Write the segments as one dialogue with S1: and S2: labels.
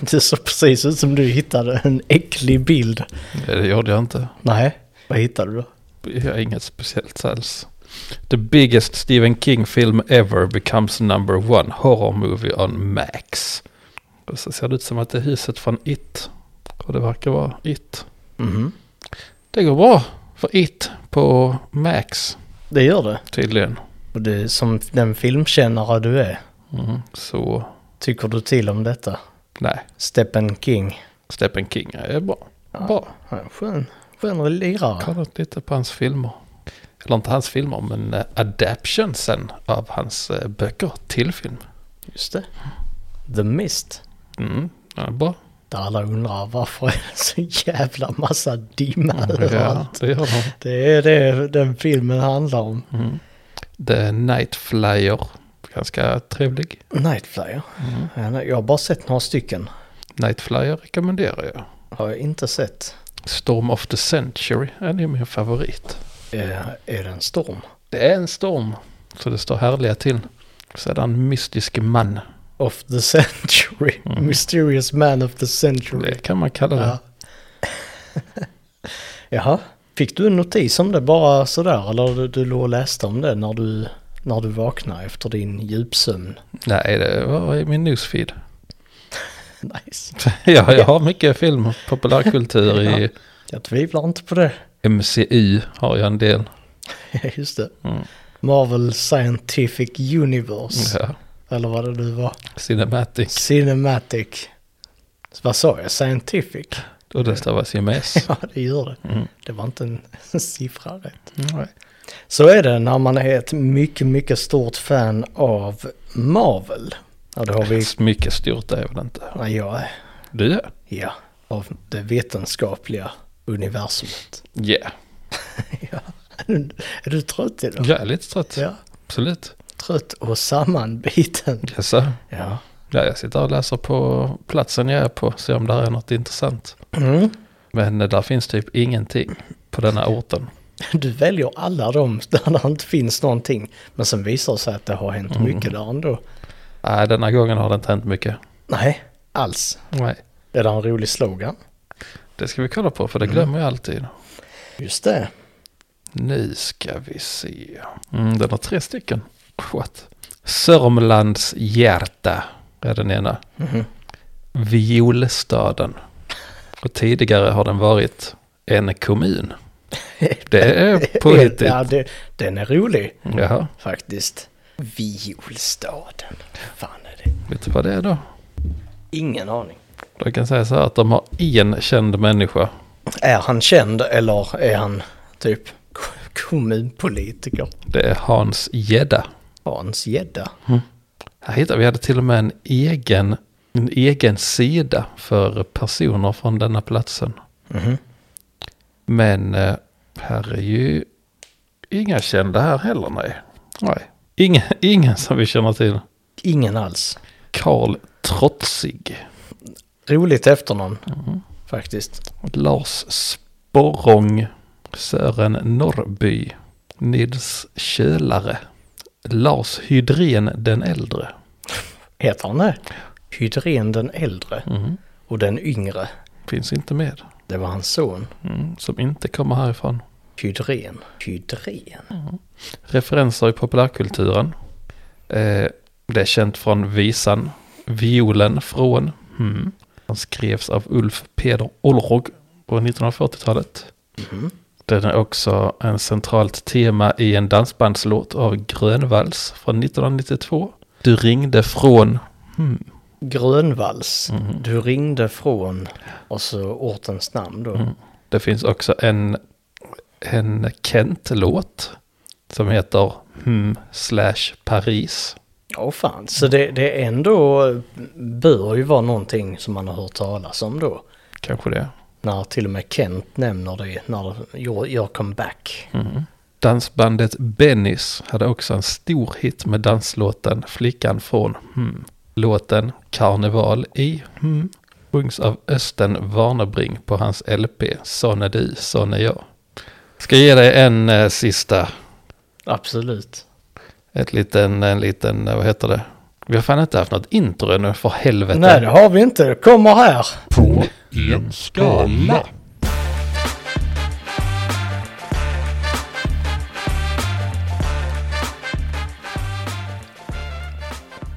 S1: Det såg precis ut som du hittade en äcklig bild.
S2: Eh, Det gjorde jag inte.
S1: Nej, vad hittade du då?
S2: Jag har inget speciellt alls. The biggest Stephen King film ever becomes number one horror movie on Max. Och så ser det ut som att det är huset från It. Och det verkar vara It.
S1: Mhm.
S2: Det går bra för It på Max
S1: Det gör det.
S2: tydligen.
S1: Och du, som den filmkännare du är,
S2: Mm, så
S1: tycker du till om detta?
S2: nej,
S1: Stephen King.
S2: Stephen King är bra. Bra.
S1: Ja, skön, skön lirare.
S2: Kollat lite på hans filmer. Eller inte hans filmer, men eh, adaptionsen av hans eh, böcker till film.
S1: Just det. The Mist.
S2: Mm, ja, bra.
S1: Där alla undrar varför är det så jävla massa dimma
S2: Ja,
S1: överallt.
S2: det gör de.
S1: Det är det den filmen handlar om.
S2: The Night Flyer. Ganska trevlig.
S1: Nightflyer.
S2: Mm.
S1: Ja, nej, Jag har bara sett några stycken.
S2: Night Flyer rekommenderar jag.
S1: Har jag inte sett.
S2: Storm of the Century är ju min favorit.
S1: Eh, är det en storm?
S2: Det är en storm, så det står härliga till. Sedan mystisk man.
S1: Of the century.
S2: Mm.
S1: Mysterious man of the century.
S2: Det kan man kalla det.
S1: Ja. Jaha. Fick du en notis om det bara sådär? Eller du, du låg och läste om det när du, när du vaknade efter din djupsömn?
S2: Nej, det var i min newsfeed.
S1: Nice.
S2: ja, jag har mycket film och populärkultur i
S1: Jag tvivlar inte på det.
S2: MCU har jag en del.
S1: Ja, Just det.
S2: Mm.
S1: Marvel Scientific Universe.
S2: Ja.
S1: Eller vad det nu var.
S2: Cinematic.
S1: Cinematic. Vad sa jag? Scientific?
S2: Och det stavas ju med S.
S1: Ja, det gör det.
S2: Mm.
S1: Det var inte en siffra rätt.
S2: Nej.
S1: Så är det när man är ett mycket, mycket stort fan av Marvel. Ja, det har vi...
S2: Mycket stort är väl inte.
S1: Ja, jag är.
S2: Du ja.
S1: Ja, av det vetenskapliga universumet.
S2: Yeah.
S1: Ja. Är du trött idag?
S2: Jag är lite trött.
S1: Ja.
S2: Absolut.
S1: Trött och sammanbiten.
S2: Jaså?
S1: Ja.
S2: Ja, jag sitter och läser på platsen jag är på, se om där är något intressant.
S1: Mm.
S2: Men eh, där finns typ ingenting på denna orten.
S1: Du väljer alla de där det inte finns någonting. Men sen visar det sig att det har hänt mycket där ändå.
S2: Nej, denna gången har det inte hänt mycket.
S1: Nej, alls.
S2: Nej,
S1: Det där är en rolig slogan.
S2: det ska vi kolla på, för det
S1: Mm.
S2: glömmer jag alltid.
S1: Just det.
S2: Nu ska vi se. Mm, den har tre stycken. What? Sörmlands hjärta är den ena.
S1: Mhm.
S2: Violstaden. Och tidigare har den varit en kommun. Det är påhittigt.
S1: Ja, det, den är rolig
S2: Jaha,
S1: faktiskt. Violstaden. Fan är det?
S2: vet du vad det är då?
S1: Ingen aning.
S2: Jag kan säga så här att de har en känd människa.
S1: Är han känd eller är han typ k- kommunpolitiker?
S2: Det är Hans Gädda.
S1: Hans gädda.
S2: Här hittar vi hade till och med en egen, en egen sida för personer från denna platsen. Men eh, här är ju inga kända här heller, nej. nej. Ingen, ingen som vi känner till.
S1: Ingen alls.
S2: Karl Trotsig.
S1: Roligt efternamn faktiskt.
S2: Lars Sporrong, Sören Norrby, Nils Kölare, Lars Hydrén den äldre.
S1: Heter han det? Hydrén den äldre och den yngre.
S2: Finns inte med.
S1: Det var hans son.
S2: Mm, som inte kommer härifrån.
S1: Hydrén. Hydrén.
S2: Referenser i populärkulturen. Eh, det är känt från visan Violen från. Mm. Den skrevs av Ulf Peder Olrog på 1940-talet. Den är också en centralt tema i en dansbandslåt av Grönvalls från 1992. Du ringde från hmm,
S1: Grönvalls. Du ringde från och så ortens namn då.
S2: Det finns också en, en Kent-låt som heter hmm slash Paris.
S1: Ja, fan. Så det, det är ändå bör ju vara någonting som man har hört talas om då.
S2: Kanske det.
S1: När till och med Kent nämner det när jag gör comeback.
S2: Dansbandet Bennys hade också en stor hit med danslåten Flickan från hmm. Låten Karneval i hmm sjungs av Östen Warnerbring på hans LP Sån är du, sån är jag. Ska ge dig en eh, sista,
S1: Absolut.
S2: ett liten, en liten, eh, vad heter det, Vi har fan inte haft något intro ännu, för helvete.
S1: Nej, det har vi inte. Det kommer här.
S3: På en skala.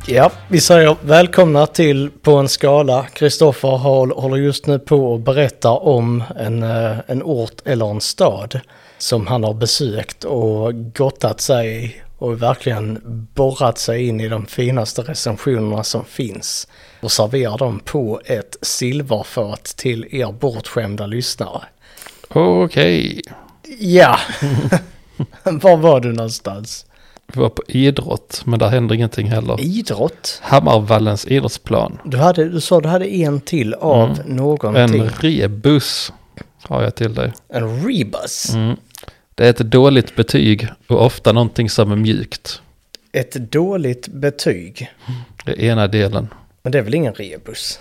S1: Ja, vi säger välkomna till På en skala. Kristoffer håll- håller just nu på att berätta om en, eh, en ort eller en stad som han har besökt och gottat sig i och verkligen borrat sig in i de finaste recensionerna som finns och serverar dem på ett silverfat till er bortskämda lyssnare.
S2: Okej.
S1: Ja, var var du någonstans?
S2: Vi var på idrott, men där händer ingenting heller.
S1: Idrott?
S2: Hammarballens idrottsplan.
S1: Du, hade, du sa du hade en till av någonting.
S2: En rebus har jag till dig.
S1: En rebus.
S2: Det är ett dåligt betyg och ofta någonting som är mjukt.
S1: Ett dåligt betyg.
S2: Det är ena delen.
S1: Men det är väl ingen rebus?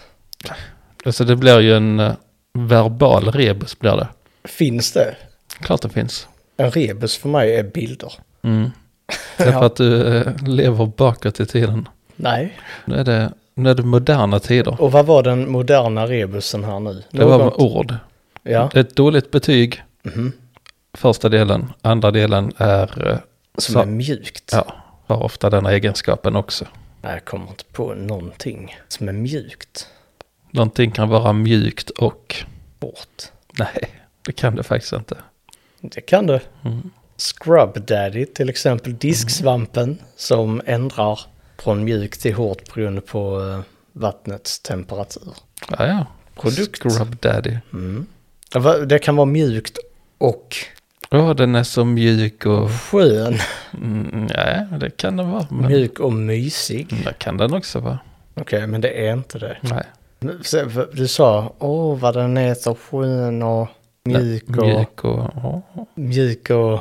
S2: Alltså det blir ju en eh, verbal rebus blir det.
S1: Finns det?
S2: Klart det finns.
S1: En rebus för mig är bilder.
S2: Mm. Det är för att du eh, lever bakåt i tiden.
S1: Nej.
S2: Nu är det, nu är det moderna tider.
S1: Och vad var den moderna rebusen här nu?
S2: Det var Mhm. med
S1: Någon-
S2: ord.
S1: Ja.
S2: Ett dåligt betyg. Första delen. Andra delen är... eh,
S1: Som
S2: sa-
S1: är mjukt.
S2: Ja, har ofta den egenskapen också.
S1: Nej, jag kommer inte på någonting som är mjukt.
S2: Någonting kan vara mjukt och...
S1: Bort.
S2: Nej, det kan det faktiskt inte.
S1: Det kan du.
S2: Mm.
S1: Scrub Daddy, till exempel disksvampen som ändrar från mjukt till hårt beroende på eh, vattnets temperatur.
S2: Ja, ja.
S1: Produkt.
S2: Scrub Daddy.
S1: Ja, va- Det kan vara mjukt och
S2: Åh, den är så mjuk och...
S1: skön.
S2: Mm, nej, det kan den vara. Men
S1: Mjuk och mysig.
S2: det kan den också vara.
S1: Okej, men det är inte det.
S2: Nej.
S1: Men se, för- Du sa, åh vad den är så skön och mjuk och, mjuk.
S2: Mjuk och... ja.
S1: och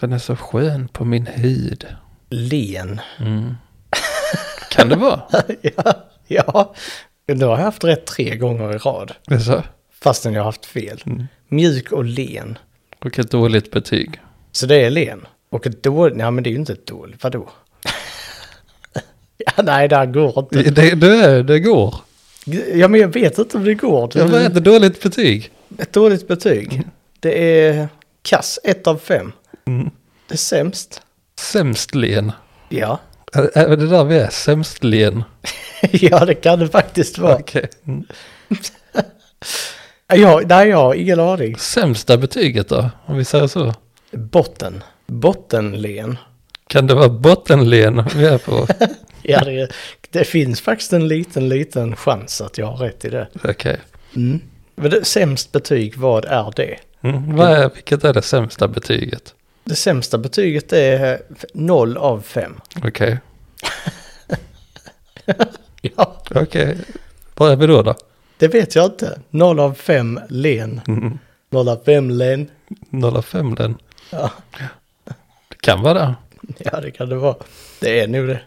S2: Den är så skön på min hud.
S1: len.
S2: Kan det vara?
S1: ja, ja, nu har jag haft rätt tre gånger i rad.
S2: Det är så?
S1: Fastän jag har haft fel. Mjuk och len.
S2: Och ett dåligt betyg.
S1: Så det är len. Och ett dåligt, nej men det är ju inte ett dåligt, vadå? ja, nej, det här går inte.
S2: Det, det, det, det går.
S1: Ja, men jag vet inte om det går.
S2: Ja, Vad är ett dåligt betyg?
S1: Ett dåligt betyg. Det är kass, ett av fem. Det är sämst.
S2: Sämst len.
S1: Ja.
S2: Ä- Även det där vi är, sämst len.
S1: ja, det kan det faktiskt vara.
S2: Okej. Mm.
S1: Ja, nej, jag har ingen aning.
S2: Sämsta betyget då, om vi säger så.
S1: Botten. Bottenlen.
S2: Kan det vara bottenlen vi är på?
S1: Ja, det, det finns faktiskt en liten, liten chans att jag har rätt i det.
S2: Okej.
S1: Men det, sämst betyg, vad är det?
S2: Mm. Vad är, vilket är det sämsta betyget?
S1: Det sämsta betyget är 0 av 5.
S2: Okej.
S1: Ja,
S2: Okej. Vad är vi då då?
S1: det vet jag inte. 0 av 5 len.
S2: Mm.
S1: 0 av 5 len.
S2: 0 av 5 den.
S1: Ja.
S2: Det kan vara det.
S1: ja, det kan det vara. Det är nog det.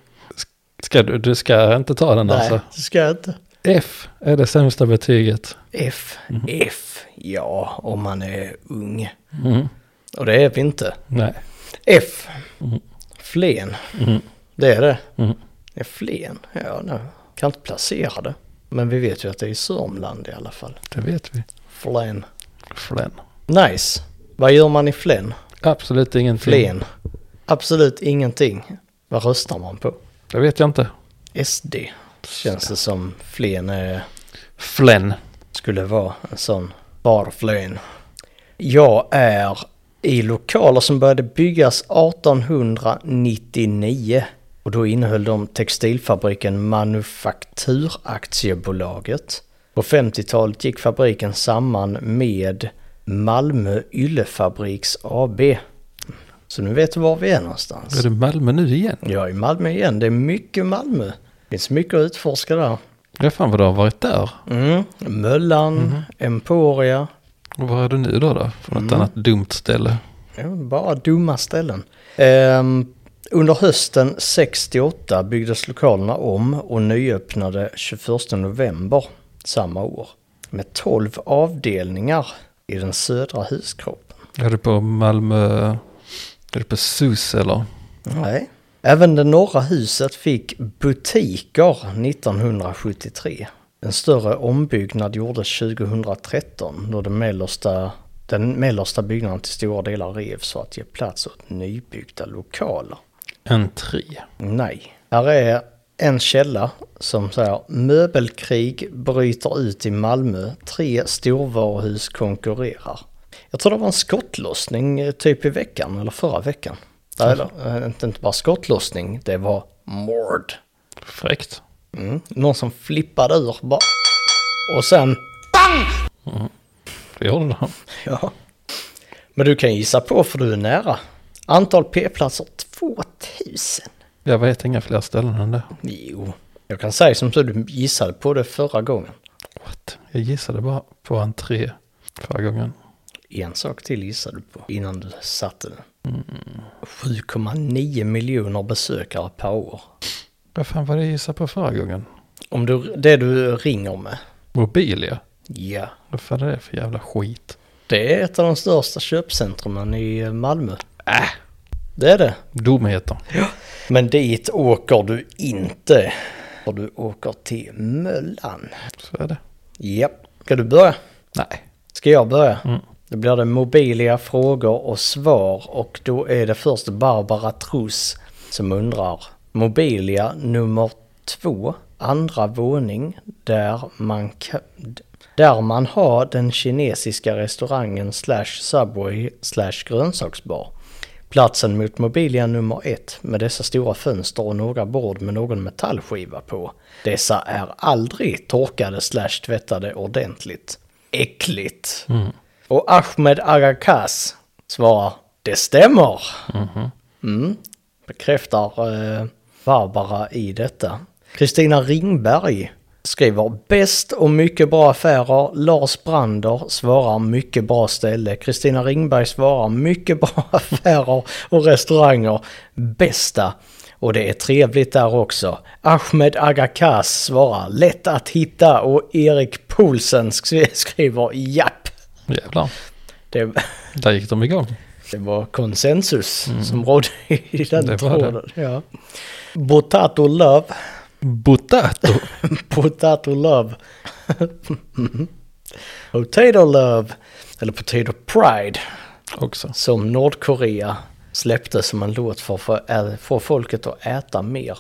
S2: Ska du, du ska inte ta den
S1: Nej,
S2: alltså?
S1: det ska jag inte.
S2: F är det sämsta betyget.
S1: F. F. Ja, om man är ung. Och det är vi inte.
S2: Nej.
S1: F. Flen. Det är det. Det är flen. Ja, nej. Kan inte placera det. Men vi vet ju att det är i Sörmland i alla fall.
S2: Det vet vi.
S1: Flen.
S2: Flen.
S1: Nice. Vad gör man i Flen?
S2: Absolut ingenting.
S1: Flen. Absolut ingenting. Vad röstar man på?
S2: Det vet jag inte.
S1: SD. Känns det som Flen är
S2: Flen.
S1: skulle vara en sån barflöjn. Jag är i lokaler som började byggas 1899 och då innehöll de textilfabriken Manufakturaktiebolaget. På 50-talet gick fabriken samman med Malmö Yllefabriks AB. Så nu vet du var vi är någonstans.
S2: Är det Malmö nu igen?
S1: Jag är i Malmö igen, det är mycket Malmö. Det finns mycket att utforska där.
S2: Ja, fan vad du har varit där.
S1: Mm. Möllan, Emporia,
S2: Och var är du nu då? då? Från ett annat dumt ställe.
S1: Ja, Bara dumma ställen. Ehm, under hösten 68 byggdes lokalerna om och nyöppnade 21 november samma år. Med 12 avdelningar i den södra huskroppen.
S2: Är du på Malmö? Är du på SUS eller?
S1: Nej. Även det norra huset fick butiker 1973. En större ombyggnad gjordes 2013 då den mellersta, den mellersta byggnaden till stora delar revs för att ge plats åt nybyggda lokaler.
S2: Entré.
S1: Nej. Här är en källa som säger möbelkrig bryter ut i Malmö. Tre storvaruhus konkurrerar. Jag tror det var en skottlossning eh, typ i veckan eller förra veckan. Eller eh, inte, inte bara skottlossning, det var mord.
S2: Fräckt.
S1: Mm. Någon som flippade ur bara. Och sen,
S2: Det gjorde det.
S1: ja. Men du kan gissa på för du är nära. Antal p-platser 2000.
S2: Jag vet inga fler ställen än det.
S1: Jo, jag kan säga som så du gissade på det förra gången.
S2: What? Jag gissade bara på entré förra gången.
S1: En sak till gissade du på innan du satte den. 7,9 miljoner besökare per år.
S2: Vad fan var det jag gissade på förra gången?
S1: Om du, det du ringer med.
S2: Mobilia?
S1: Ja.
S2: Vad fan är det för jävla skit?
S1: Det är ett av de största köpcentrumen i Malmö. Äh. Det är det.
S2: Dumheter.
S1: Men dit åker du inte. Och du åker till Möllan.
S2: Så är det.
S1: Japp. Ska du börja?
S2: Nej.
S1: Ska jag börja?
S2: Mm.
S1: Då blir det mobila frågor och svar och då är det först Barbara Truss som undrar. Mobilia nummer två, andra våning, där man, ka- där man har den kinesiska restaurangen slash Subway slash grönsaksbar. Platsen mot Mobilia nummer ett med dessa stora fönster och några bord med någon metallskiva på. Dessa är aldrig torkade slash tvättade ordentligt. Äckligt. Och Ahmed Agakas svarar det stämmer. Mm. Bekräftar eh, Barbara i detta. Kristina Ringberg skriver bäst och mycket bra affärer. Lars Brander svarar mycket bra ställe. Kristina Ringberg svarar mycket bra affärer och restauranger. Bästa. Och det är trevligt där också. Ahmed Agakas svarar lätt att hitta och Erik Poulsen sk- skriver japp.
S2: Jävlar.
S1: Det,
S2: Där gick de igång.
S1: det var konsensus som rådde i den
S2: Mm. Det var det.
S1: tråden. Ja. Potato love,
S2: Botato.
S1: potato love. potato love, eller potato pride,
S2: Också.
S1: som Nordkorea släppte som en låt för att få- äh, få folket att äta mer.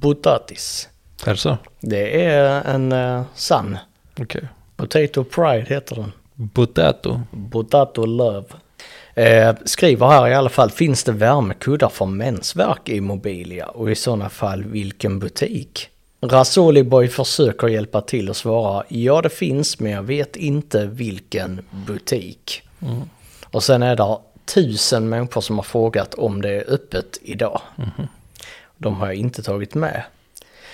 S1: Potatis.
S2: Är det så?
S1: Det är en uh, sann.
S2: Okej.
S1: Potato pride heter den.
S2: Botato.
S1: Potato Love. Eh, skriver här i alla fall, finns det värmekuddar för mensvärk i Mobilia och i sådana fall vilken butik? Rasoliboy försöker hjälpa till och svara, ja det finns men jag vet inte vilken butik. Och sen är det tusen människor som har frågat om det är öppet idag. De har jag inte tagit med.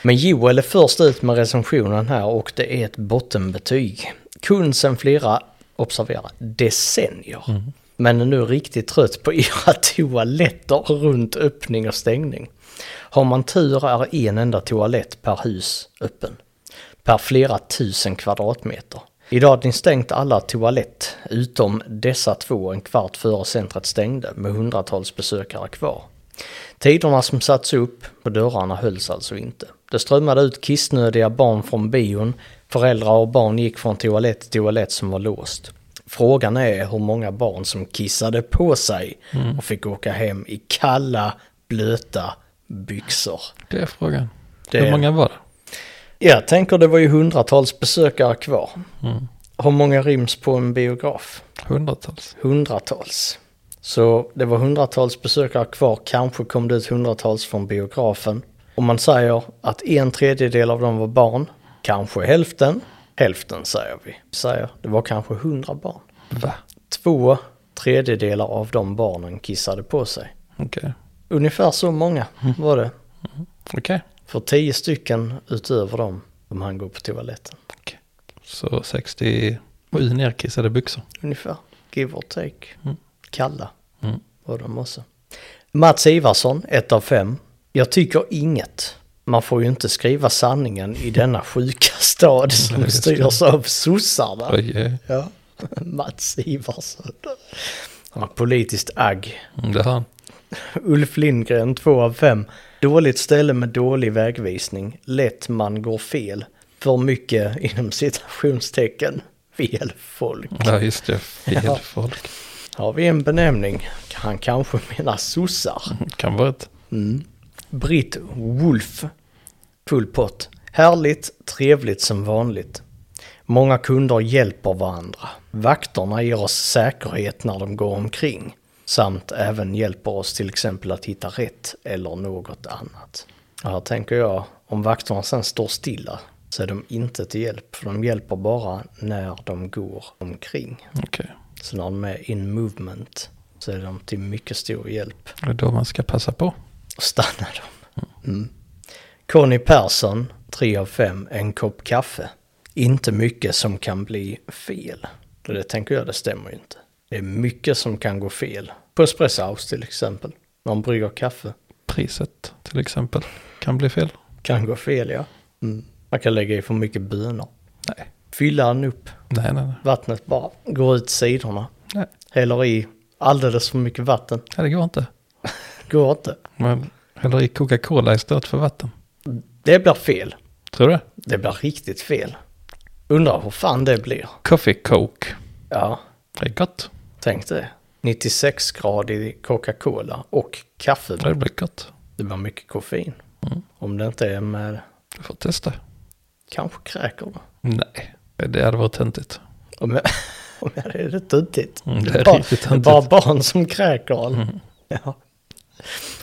S1: Men Joel är först ut med recensionen här och det är ett bottenbetyg. Kund sen flera, observera, decennier. Men är nu riktigt trött på era toaletter runt öppning och stängning. Har man tur är en enda toalett per hus öppen. Per flera tusen kvadratmeter. Idag hade ni stängt alla toalett utom dessa två en kvart före centret stängde med hundratals besökare kvar. Tiderna som satts upp på dörrarna hölls alltså inte. Det strömmade ut kissnödiga barn från bion. Föräldrar och barn gick från toalett till toalett som var låst. Frågan är hur många barn som kissade på sig och fick åka hem i kalla, blöta byxor.
S2: Det är frågan.
S1: Det-
S2: Hur många var det?
S1: Jag tänker det var ju hundratals besökare kvar. Hur många ryms på en biograf?
S2: Hundratals.
S1: hundratals. Så det var hundratals besökare kvar, kanske kom det ut hundratals från biografen. Om man säger att en tredjedel av dem var barn, kanske hälften, hälften säger vi. Vi säger det var kanske hundra barn.
S2: Va?
S1: Två tredjedelar av de barnen kissade på sig.
S2: Okej.
S1: Ungefär så många var det.
S2: Okej.
S1: För tio stycken utöver dem som han går på toaletten.
S2: Okej. Så 60 och i nerkissade byxor.
S1: ungefär. Give or take. Kalla
S2: Mm.
S1: var de också. Mats Ivarsson, ett av fem. Jag tycker inget. Man får ju inte skriva sanningen i denna sjuka stad
S2: Nej,
S1: som
S2: just
S1: styrs av sossarna.
S2: Oj, eh,
S1: Ja. Mats Ivarsson. Han har politiskt agg.
S2: mm, det har han.
S1: Ulf Lindgren, 2 av 5. Dåligt ställe med dålig vägvisning. Lätt man går fel. För mycket inom citationstecken. Fel folk.
S2: Ja, just det. Fel
S1: Ja.
S2: folk.
S1: Har vi en benämning? Han kanske menar sossar.
S2: Kan vara ett.
S1: Mm. Britt Wolf. Full pott. Härligt, trevligt som vanligt. Många kunder hjälper varandra. Vakterna ger oss säkerhet när de går omkring. Samt även hjälper oss till exempel att hitta rätt eller något annat. Och här tänker jag, om vakterna sen står stilla så är de inte till hjälp. För de hjälper bara när de går omkring.
S2: Okej.
S1: Så när de är in movement så är de till mycket stor hjälp
S2: Det är då man ska passa på.
S1: stannar de. Mm. Conny Persson, 3 av 5, en kopp kaffe. Inte mycket som kan bli fel. Och det tänker jag, det stämmer ju inte. Det är mycket som kan gå fel. På Espresso House till exempel. När man brygger kaffe.
S2: Priset till exempel kan bli fel.
S1: Kan gå fel, ja. Mm. Man kan lägga i för mycket bönor.
S2: Nej,
S1: Fylla den upp.
S2: nej, nej. nej.
S1: Vattnet bara går ut sidorna.
S2: nej.
S1: Häller i alldeles för mycket vatten.
S2: nej det går inte.
S1: Går inte.
S2: Man häller i Coca-Cola istället för vatten.
S1: Det blir fel.
S2: Tror du?
S1: Det blir riktigt fel. Undrar hur fan det blir.
S2: Coffee Coke.
S1: Ja,
S2: Det är gott.
S1: Tänk det. 96-gradig Coca-Cola och kaffe.
S2: Det blir gott.
S1: Det var mycket koffein.
S2: Mm.
S1: Om det inte är med
S2: Du får testa.
S1: kanske kräker då.
S2: Nej, det hade varit töntigt.
S1: Om jag, om jag det är det töntigt.
S2: Mm, det är
S1: bara,
S2: riktigt
S1: det är
S2: töntigt. Mm.
S1: bara barn som kräker. eller? Ja.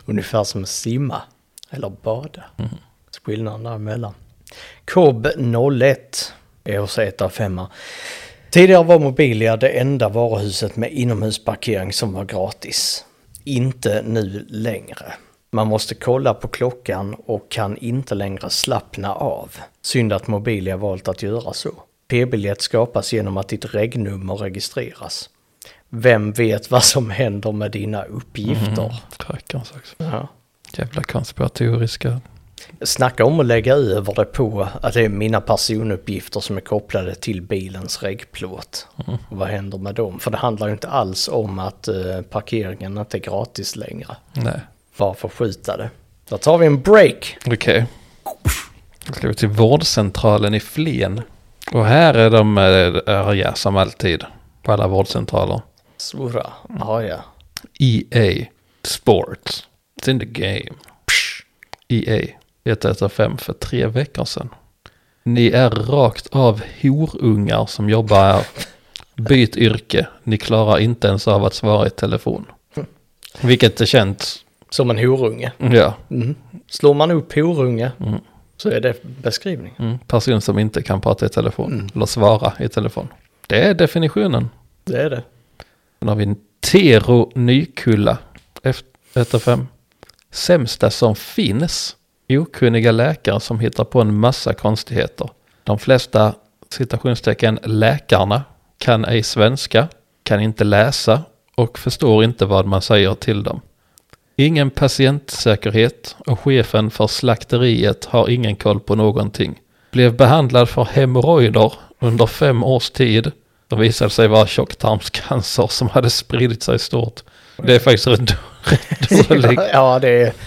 S1: Ungefär som att simma eller bada. Mm. Skillnaden däremellan. KOB 01 är hos 1 av 5. Tidigare var Mobilia det enda varuhuset med inomhusparkering som var gratis. Inte nu längre. Man måste kolla på klockan och kan inte längre slappna av. Synd att Mobilia valt att göra så. P-biljett skapas genom att ditt regnummer registreras. Vem vet vad som händer med dina uppgifter?
S2: Rökarens också.
S1: Ja.
S2: Jävla konspiratoriska.
S1: Snacka om att lägga över det på att det är mina personuppgifter som är kopplade till bilens regplåt. Och vad händer med dem? För det handlar ju inte alls om att eh, parkeringen inte är gratis längre.
S2: Nej,
S1: Bara förskjuta det. Då tar vi en break.
S2: okej. Då ska vi till vårdcentralen i Flen. Och här är de eh, arga som alltid. På alla vårdcentraler.
S1: Surra. Ah, ja.
S2: EA Sports. It's in the game. E EA. Ett utav fem för tre veckor sedan. Ni är rakt av horungar som jobbar här. Byt yrke. Ni klarar inte ens av att svara i telefon. Vilket det känns.
S1: Som en horunge.
S2: Ja.
S1: Mm. Slår man upp horunge så är det beskrivning.
S2: Mm. Person som inte kan prata i telefon. Eller svara i telefon. Det är definitionen.
S1: Det är det.
S2: Sen har vi en Tero Nykulla. F- Ett av fem. Sämsta som finns. Okunniga läkare som hittar på en massa konstigheter. De flesta citationstecken läkarna kan ej svenska, kan inte läsa och förstår inte vad man säger till dem. Ingen patientsäkerhet och chefen för slakteriet har ingen koll på någonting. Blev behandlad för hemorrojder under fem års tid. Det visade sig vara tjocktarmscancer som hade spridit sig stort. Det är faktiskt rätt, då- rätt dålig.
S1: ja, det är...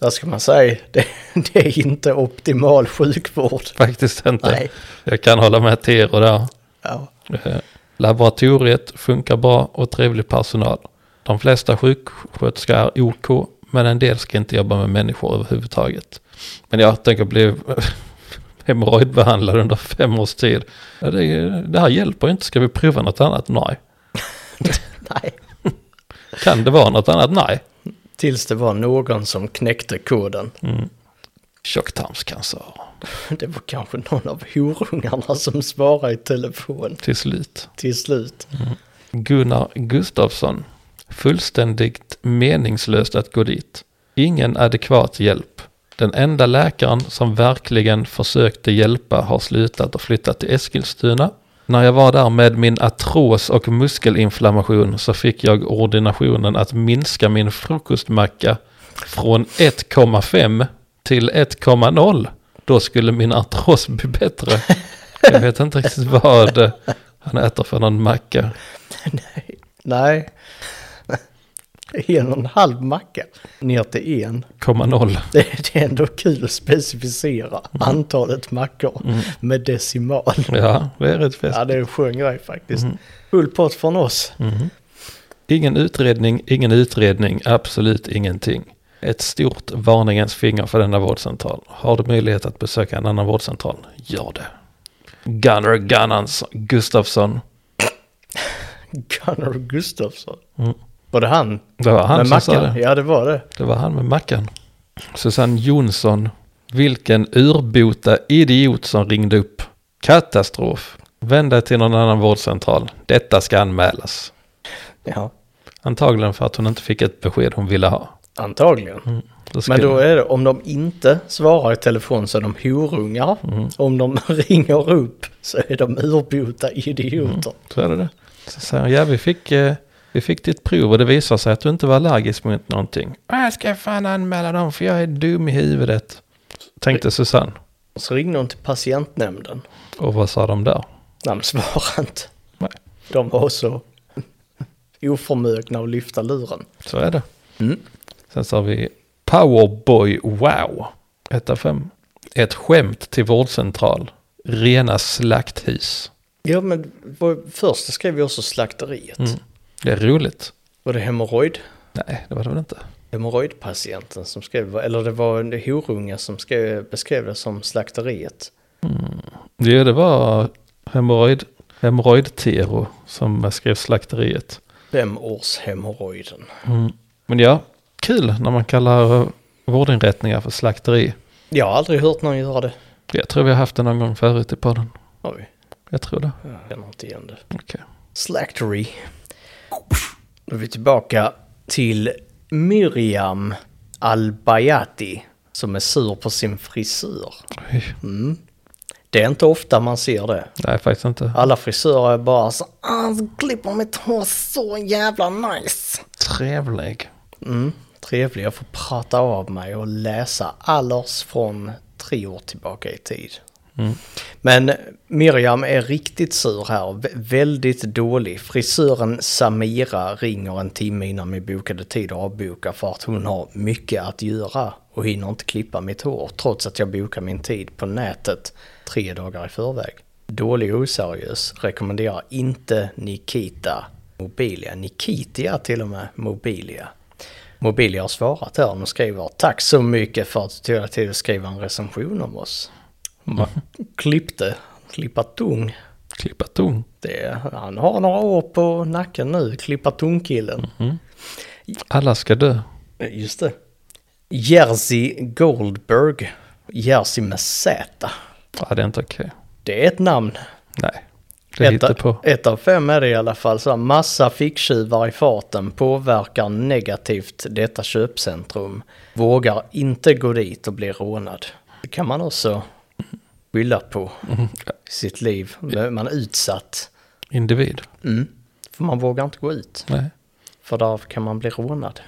S1: Vad ska man säga? Det, det är inte optimal sjukvård.
S2: Faktiskt inte.
S1: Nej.
S2: Jag kan hålla med Tero där.
S1: Ja.
S2: Eh, Laboratoriet funkar bra och trevlig personal. De flesta sjuksköterskor är OK, men en del ska inte jobba med människor överhuvudtaget. Men jag tänker bli hemorrojdbehandlad under fem års tid. Ja, Det, det här hjälper inte, ska vi prova något annat? Nej.
S1: Nej.
S2: Kan det vara något annat? Nej.
S1: Tills det var någon som knäckte koden.
S2: Tjocktarmscancer,
S1: Det var kanske någon av horungarna som svarade i telefon
S2: till slut.
S1: till slut.
S2: Gunnar Gustafsson. Fullständigt meningslöst att gå dit. Ingen adekvat hjälp. Den enda läkaren som verkligen försökte hjälpa har slutat och flyttat till Eskilstuna. När jag var där med min artros och muskelinflammation så fick jag ordinationen att minska min frukostmacka från 1,5 till 1,0. Då skulle min artros bli bättre. Jag vet inte riktigt vad eh, han äter för någon macka.
S1: Nej, en och en halv macka ner till en.
S2: Komma noll.
S1: Det, det är ändå kul att specificera
S2: Mm.
S1: antalet mackor med decimal.
S2: Ja, det är rätt fest.
S1: Ja, det är en skön grej faktiskt.
S2: Mm.
S1: Full pott från oss.
S2: Ingen utredning, ingen utredning, absolut ingenting. Ett stort varningens finger för denna vårdcentral. Har du möjlighet att besöka en annan vårdcentral, gör det. Gunnar Gunnans Gustafsson.
S1: Gunnar Gustafsson.
S2: Mm.
S1: Var det han?
S2: Det var han
S1: med
S2: som sa
S1: mackan?
S2: det.
S1: Ja, det var det.
S2: Det var han med mackan. Susanne Jonsson. Vilken urbota idiot som ringde upp. Katastrof. Vänd dig till någon annan vårdcentral. Detta ska anmälas.
S1: Ja,
S2: Antagligen för att hon inte fick ett besked hon ville ha.
S1: antagligen.
S2: Mm. Då ska
S1: Men då är det om de inte svarar i telefon så är de horungar. Om de ringer upp så är de urbota idioter.
S2: Så är det det. Så säger hon, ja vi fick, eh, vi fick ditt prov och det visar sig att du inte var allergisk mot någonting. Jag ska fan anmäla dem för jag är dum i huvudet. Tänkte Susanne.
S1: Och Så ringde de till patientnämnden.
S2: Och vad sa de där?
S1: Nej, men svara inte.
S2: Nej,
S1: De var så oförmögna att lyfta luren.
S2: så är det. Sen så har vi Powerboy Wow. 1 av 5. Ett skämt till vårdcentral. Rena slakthus.
S1: Ja, men vår första skrev vi också slakteriet.
S2: Det är roligt.
S1: Var det hemorrojd?
S2: Nej, det var det väl inte.
S1: Hemorrojdpatienten som skrev, eller det var en horunge som skrev, beskrev det som slakteriet.
S2: Jo, det var hemorrojd, hemorrojd-Tero som skrev slakteriet.
S1: Fem års hemorrojden.
S2: Mm. Men ja, kul när man kallar eh, vårdinrättningar för slakteri.
S1: Jag har aldrig hört någon göra det.
S2: Jag tror vi har haft det någon gång förut i podden.
S1: Oj,
S2: Jag tror det.
S1: jag känner inte igen det.
S2: Okej.
S1: Slaktery. Då är vi tillbaka till Miriam Albayati som är sur på sin frisör.
S2: Okay.
S1: Det är inte ofta man ser det.
S2: Nej, faktiskt inte.
S1: Alla frisörer är bara så ah, så klipper mitt hår så jävla nice.
S2: Trevlig.
S1: Mm, trevlig, jag får prata av mig och läsa Allers från tre år tillbaka i tid. Men Miriam är riktigt sur här, vä- väldigt dålig. Frisören Samira ringer en timme innan min bokade tid och avbokar för att hon har mycket att göra och hinner inte klippa mitt hår trots att jag bokar min tid på nätet tre dagar i förväg. Dålig och oseriös, rekommenderar inte Nikita Mobilia. Nikitia till och med, Mobilia. Mobilia har svarat här, de skriver tack så mycket för att du tog dig tid att skriva en recension om oss. Man klippte, klippa tung.
S2: Mm. Klippa tung.
S1: Det, han har några år på nacken nu, klippa tung-killen.
S2: Mhm. Alla ska dö.
S1: Just det. Jerzy Goldberg, Jerzy med Z.
S2: Ja, det är inte okej.
S1: Det är ett namn.
S2: Nej. Det hittar
S1: ett,
S2: på.
S1: ett av fem är det i alla fall. Så här, massa ficktjuvar i farten påverkar negativt detta köpcentrum. Vågar inte gå dit och bli rånad. Det kan man också skylla på
S2: Mm.
S1: i sitt liv. Man är utsatt. Mm.
S2: Individ.
S1: För man vågar inte gå ut.
S2: Nej. Mm.
S1: För där kan man bli rånad.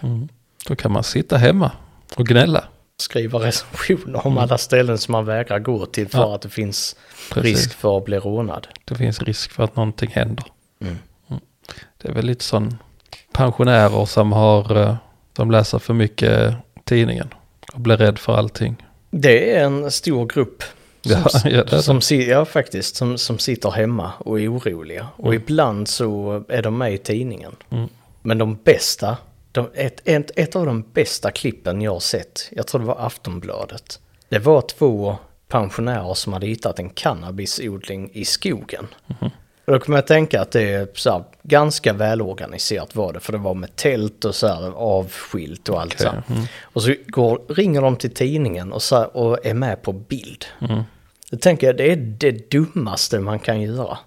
S2: Då kan man sitta hemma och gnälla.
S1: Skriva recensioner om alla ställen som man vägrar gå till för
S2: Ja.
S1: att det finns
S2: Precis.
S1: risk för att bli rånad.
S2: Det finns risk för att någonting händer. Mm. Det är väl lite sån pensionärer som har, eh, som läser för mycket tidningen och blir rädd för allting.
S1: Det är en stor grupp.
S2: Ja, ja, det är det.
S1: som, si- ja, faktiskt, som, som sitter hemma och är oroliga. Och
S2: Mm.
S1: ibland så är de med i tidningen. Men de bästa, de, ett, ett, ett av de bästa klippen jag har sett, jag tror det var Aftonbladet. Det var två pensionärer som hade hittat en cannabisodling i skogen.
S2: Mm-hmm.
S1: Och då kommer jag att tänka att det är så här, ganska välorganiserat var det, för det var med tält och så här avskilt och allt så här. Och så går, ringer de till tidningen och, så här, och är med på bild. Då tänker jag, det är det dummaste man kan göra.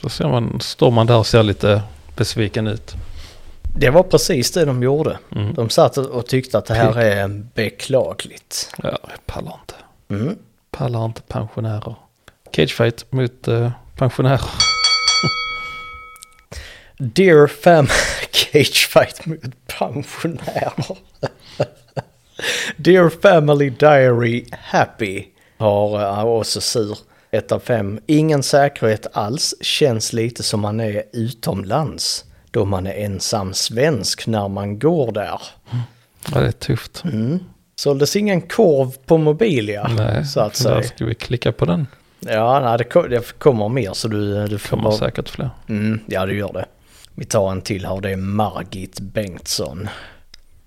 S2: Då ser man, står man där och ser lite besviken ut.
S1: Det var precis det de gjorde. De satt och- och tyckte att det här är beklagligt.
S2: Ja, jag pallar inte. Pallar inte pensionärer. Cagefight mot eh, pensionärer.
S1: Dear fam, cagefight mot pensionärer. Dear family diary happy har eh, också sur. Ett av fem. Ingen säkerhet alls. Känns lite som man är utomlands. då man är ensam svensk när man går där.
S2: Ja, det är tufft.
S1: Såldes ingen korv på Mobilia,
S2: Nej,
S1: så att
S2: för där
S1: säga.
S2: ska vi klicka på den.
S1: Ja, nej, det, ko- det kommer mer så du, du får
S2: Kommer
S1: bara...
S2: säkert fler.
S1: Mm, ja, det gör det. Vi tar en till här och det är Margit Bengtsson.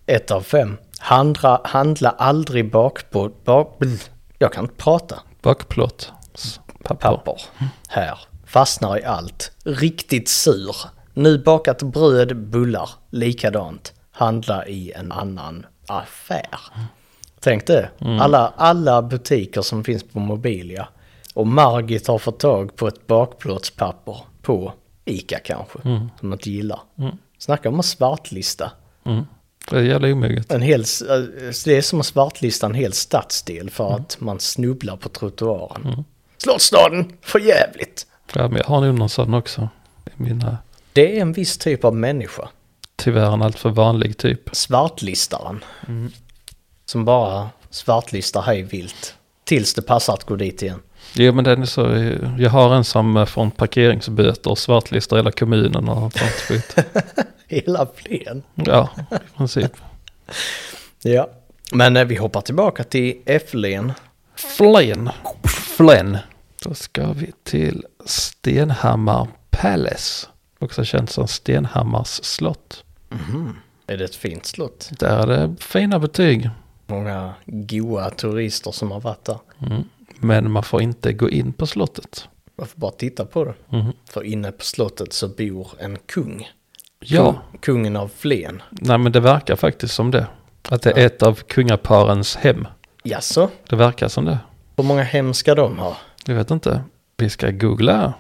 S1: Ett av fem. Handla, handla aldrig bakpå... Bak, jag kan inte prata.
S2: Bakplåt. S- Papper.
S1: papper här. Fastnar i allt. Riktigt sur. Nu bakat bröd, bullar. Likadant. Handla i en annan affär. Tänk det. Alla, alla butiker som finns på Mobilia. Och Margit har fått tag på ett bakplåtspapper på Ica kanske. Som man inte gillar. Snacka om att svartlista.
S2: Mm. Det är jävla omoget.
S1: En hel, s- eh, det är som att svartlista en hel stadsdel för att man snubblar på trottoaren. Slottsstaden, för jävligt!
S2: Ja, men jag har nog någon sån också. I mina,
S1: Det är en viss typ av människa,
S2: tyvärr en alltför vanlig typ.
S1: svartlistaren. Som bara svartlistar hej vilt. Tills det passar att gå dit igen.
S2: Jo, men den är så, jag har en som eh, från parkeringsböter och svartlistar hela kommunen och sånt skit.
S1: Hela plen.
S2: Ja, i princip.
S1: Ja. Men eh, vi hoppar tillbaka till Effelén.
S2: Flen. Flen. Då ska vi till Stenhammar Palace. Också känt som Stenhammars slott.
S1: Är det ett fint slott?
S2: Där är det fina betyg.
S1: Många goa turister som har varit där.
S2: Men man får inte gå in på slottet.
S1: Man får bara titta på det. För inne på slottet så bor en kung.
S2: Ja,
S1: Kung- Kungen av Flen.
S2: nej men det verkar faktiskt som det. Att det är ett av kungaparens hem.
S1: Jaså?
S2: Det verkar som det.
S1: Hur många hem ska de ha?
S2: Jag vet inte. Vi ska googla.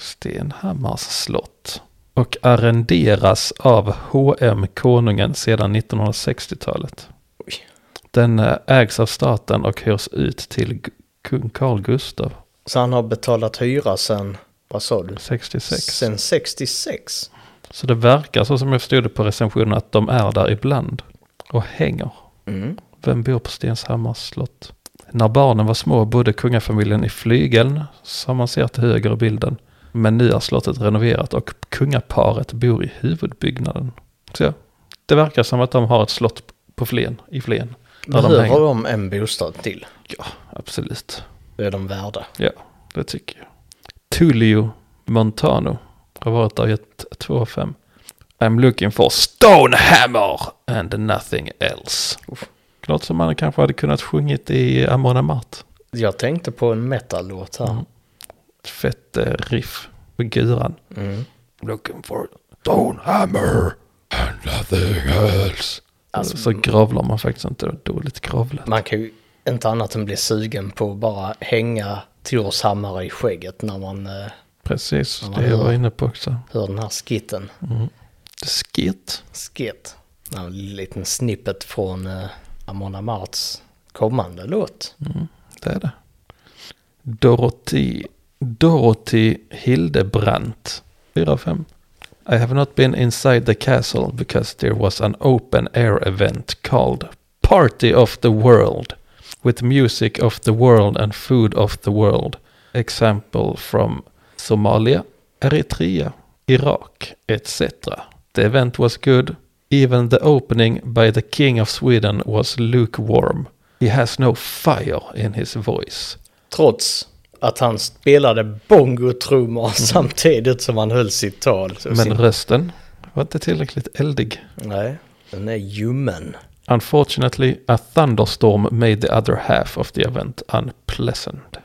S2: Stenhammars slott. Och arrenderas av H.M. Konungen sedan 1960-talet.
S1: Oj.
S2: Den eh, ägs av staten och hyrs ut till Gu- kung Carl Gustav
S1: Så han har betalat hyra sen, vad sa du?
S2: 66.
S1: Sen 66?
S2: Så det verkar så som jag förstod det på recensionen att de är där ibland och hänger.
S1: Mm.
S2: Vem bor på Stenshammars slott? När barnen var små bodde kungafamiljen i flygeln, som man ser till höger i bilden. Men nu är slottet renoverat och kungaparet bor i huvudbyggnaden. Så ja, det verkar som att de har ett slott på Flen, i Flen. Där de
S1: Behöver
S2: hänger.
S1: de en bostad till?
S2: Ja, absolut.
S1: Det är de värda.
S2: Ja, det tycker jag. Tullio Montano har varit där i ett två av fem. I'm looking for Stonehammer and nothing else. Klart som man kanske hade kunnat sjungit i Amon Amart.
S1: Jag tänkte på en metal-låt här.
S2: Ett fett eh, riff på guran.
S1: Mm.
S2: Looking for Stonehammer and nothing else.
S1: Alltså-
S2: så grovlar man faktiskt inte. Det var dåligt grovlat.
S1: Man kan ju inte annat än bli sugen på att bara hänga Tors hammare i skägget när man eh,
S2: Precis,
S1: Ja,
S2: det jag
S1: ja.
S2: var inne på också.
S1: hör den här skitten.
S2: Skit.
S1: Skit. En liten snippet från eh, Amon Amarts kommande låt.
S2: Det är det. Dorothy, Dorothy Hildebrandt. 4 5. I have not been inside the castle because there was an open air event called Party of the World with music of the world and food of the world. Example from Somalia, Eritrea, Iraq, etc. The event was good. Even the opening by the King of Sweden was lukewarm. He has no fire in his voice.
S1: Trots att han spelade bongotrummor samtidigt som han höll sitt tal. Så
S2: Men
S1: sin...
S2: rösten var inte tillräckligt eldig.
S1: Nej, den är ljummen.
S2: Unfortunately, a thunderstorm made the other half of the event unpleasant.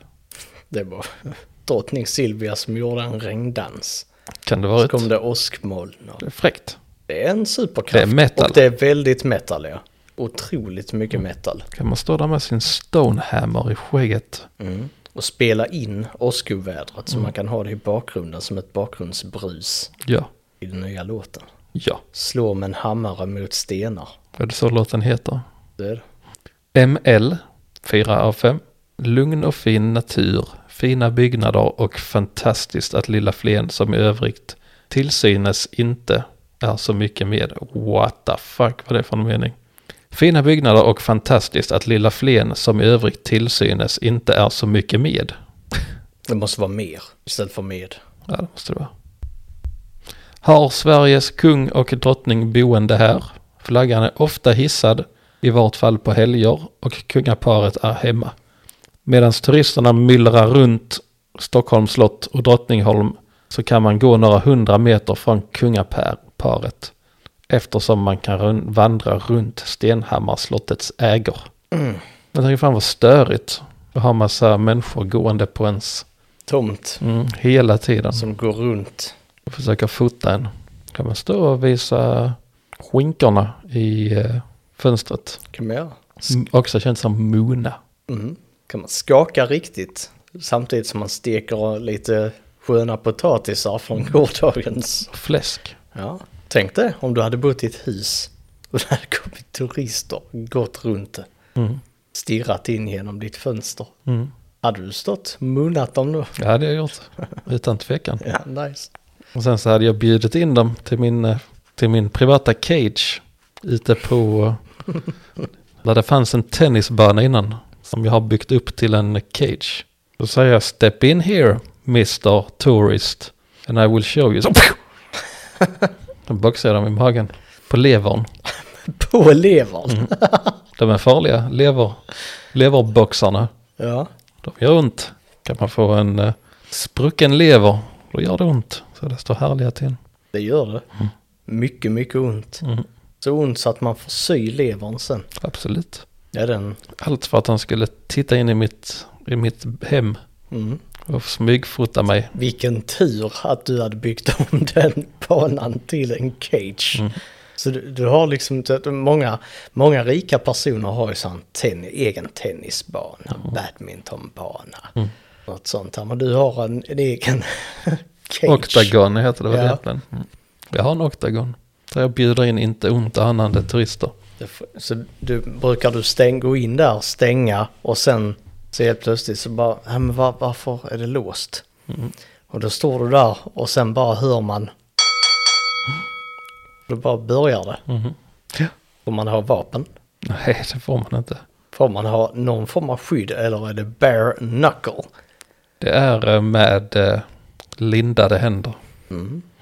S1: Det var drottning Silvia som gjorde en regndans.
S2: Kan det
S1: Så
S2: vara
S1: kom
S2: ett
S1: det åskmoln. och-
S2: fräckt?
S1: Det är en superkraft.
S2: Det är metal.
S1: Och det är väldigt metal, ja. Otroligt mycket metal.
S2: Kan man stå där med sin stonehammer i skägget?
S1: Mm. Och spela in åskovädret
S2: Mm.
S1: så man kan ha det i bakgrunden som ett bakgrundsbrus
S2: Ja,
S1: i den nya låten.
S2: ja.
S1: Slå med en hammare mot stenar.
S2: Är det så låten heter?
S1: Det är det.
S2: ML, 4 av 5. Lugn och fin natur, fina byggnader och fantastiskt att lilla Flen som i övrigt till synes inte är så mycket med. What the fuck var det för en mening? Fina byggnader och fantastiskt att lilla Flen som i övrigt till synes inte är så mycket med.
S1: Det måste vara mer istället för med.
S2: Ja, det måste det vara. Har Sveriges kung och drottning boende här? Flaggan är ofta hissad, i vart fall på helger, och kungaparet är hemma. Medan turisterna myllrar runt Stockholms slott och Drottningholm så kan man gå några hundra meter från kungaparet eftersom man kan run- vandra runt Stenhammarslottets ägor. Men det är ju fan vad störigt att ha massa människor gående på ens
S1: Tomt
S2: mm, hela tiden
S1: som går runt.
S2: och försöker fota en. Kan man stå och visa skinkorna i eh, fönstret?
S1: Kan man göra.
S2: Mm, Också känns som Mona.
S1: Mm. Kan man skaka riktigt samtidigt som man steker lite sköna potatisar från
S2: Mm.
S1: gårdagens.
S2: Fläsk.
S1: Ja. Tänk dig om du hade bott i ett hus och det hade kommit turister gått runt det.
S2: Mm.
S1: Stirrat in genom ditt fönster.
S2: Mm.
S1: Hade du stått och munnat dem då?
S2: Ja, det hade jag gjort. Utan tvekan.
S1: Ja, nice.
S2: Och sen så hade jag bjudit in dem till min, eh, till min privata cage. Ute på... eh, Där det fanns en tennisbana innan. Som jag har byggt upp till en cage. Då säger jag step in here, Mr. Tourist. And I will show you. Så, Då boxar jag dem i magen. På levern.
S1: På levern.
S2: Mm. De är farliga. Lever, leverboxarna.
S1: Ja.
S2: De gör ont. Kan man få en eh, sprucken lever, då gör det ont. Så det står härliga till.
S1: Det gör det. Mycket, mycket ont.
S2: Mm.
S1: Så ont så att man får sy levern sen.
S2: Absolut.
S1: Ja, den.
S2: Allt för att han skulle titta in i mitt, i mitt hem
S1: Mm.
S2: och smygfota mig.
S1: Vilken tur att du hade byggt om den banan till en cage. Så du, du har liksom, inte- många, många rika personer har ju sån ten, egen tennisbana, badmintonbana, något sånt här. Men du har en, en egen cage.
S2: Octagon heter det väl
S1: Ja.
S2: egentligen. Mm. Jag har en octagon. Där jag bjuder in inte ont anande turister.
S1: Det f- Så du, brukar du stäng, gå in där, stänga och sen så helt plötsligt så bara, "Ja, men var, varför är det låst? Och då står du där och sen bara hör man. Då bara börjar det.
S2: Ja.
S1: Får man ha vapen?
S2: Nej, det får man inte.
S1: Får man ha någon form av skydd eller är det bare knuckle?
S2: Det är eh, med eh, lindade händer.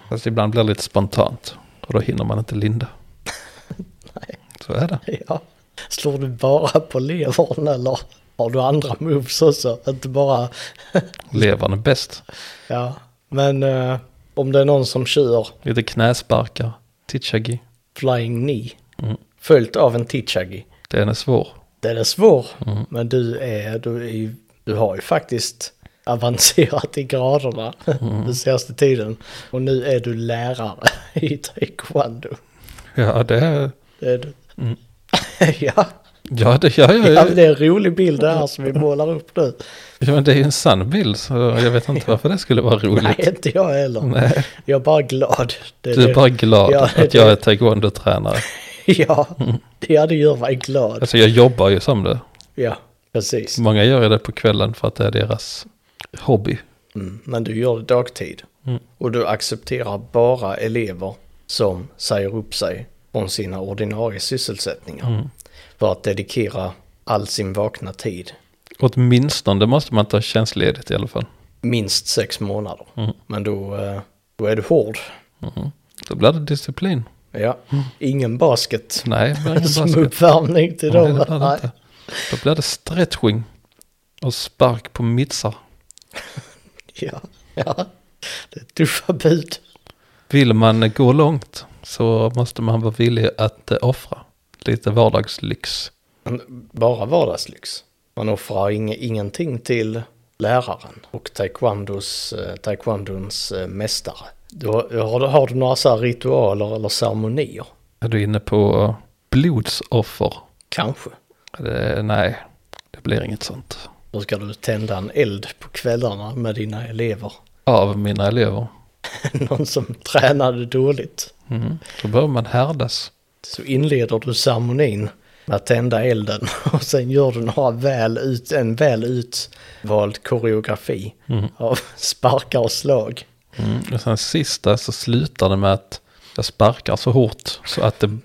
S2: Fast ibland blir det lite spontant. Och då hinner man inte linda. Så är det.
S1: Ja. Slår du bara på levern eller har du andra moves också? Inte bara
S2: Levern är bäst.
S1: Ja, men eh, om det är någon som kör
S2: Lite knäsparkar. Titchagi.
S1: Flying Knee
S2: Mm.
S1: följt av en Tichagi.
S2: Den är svår.
S1: Den är svår,
S2: Mm.
S1: men du, är, du, är ju, du har ju faktiskt avancerat i graderna
S2: Mm.
S1: den senaste tiden. Och nu är du lärare i taekwondo.
S2: Ja, det är...
S1: Det är du.
S2: Mm.
S1: ja,
S2: Ja, det, ja, ja,
S1: ja,
S2: ja,
S1: men det är en rolig bild det här som vi målar upp nu.
S2: Ja, men det är ju en sann bild, så jag vet inte varför det skulle vara roligt.
S1: Nej, inte jag heller.
S2: Nej.
S1: Jag är bara glad. Det
S2: Du är
S1: det.
S2: bara glad
S1: Ja,
S2: att jag är taekwondo-tränare.
S1: Ja,
S2: Mm.
S1: ja, det gör mig glad.
S2: Alltså jag jobbar ju som det.
S1: Ja, precis.
S2: Många gör ju det på kvällen för att det är deras hobby.
S1: Mm, men du gör det dagtid.
S2: Mm.
S1: Och du accepterar bara elever som säger upp sig från sina ordinarie sysselsättningar.
S2: Mm.
S1: För att dedikera all sin vakna tid.
S2: Åtminstone måste man ta tjänstledigt i alla fall.
S1: Minst sex månader.
S2: Mm.
S1: Men då, eh, då är du hård.
S2: Då blir det disciplin.
S1: Ja, ingen basket.
S2: Mm. Nej, det blir ingen
S1: Som
S2: basket.
S1: uppvärmning till
S2: Nej,
S1: dem.
S2: det blir det
S1: Nej.
S2: inte. Då blir det stretching och spark på mittsar.
S1: Ja, ja, det är tuffa bud.
S2: Vill man gå långt så måste man vara villig att eh, offra lite vardagslyx.
S1: Men bara vardagslyx. Man offrar ing- ingenting till läraren och taekwondos, eh, taekwondons eh, mästare. Du har, har, du, har du några så här ritualer eller ceremonier?
S2: Är du inne på blodsoffer?
S1: Kanske.
S2: Det, nej, det blir inget sånt.
S1: Då ska du tända en eld på kvällarna med dina elever.
S2: Av mina elever.
S1: Någon som tränade dåligt.
S2: Mm. Då behöver man härdas.
S1: Så inleder du ceremonin med att tända elden och sen gör du några väl ut, en väl utvald koreografi av sparkar och slag.
S2: Mm. Och sen sista så slutar det med att jag sparkar så hårt så att det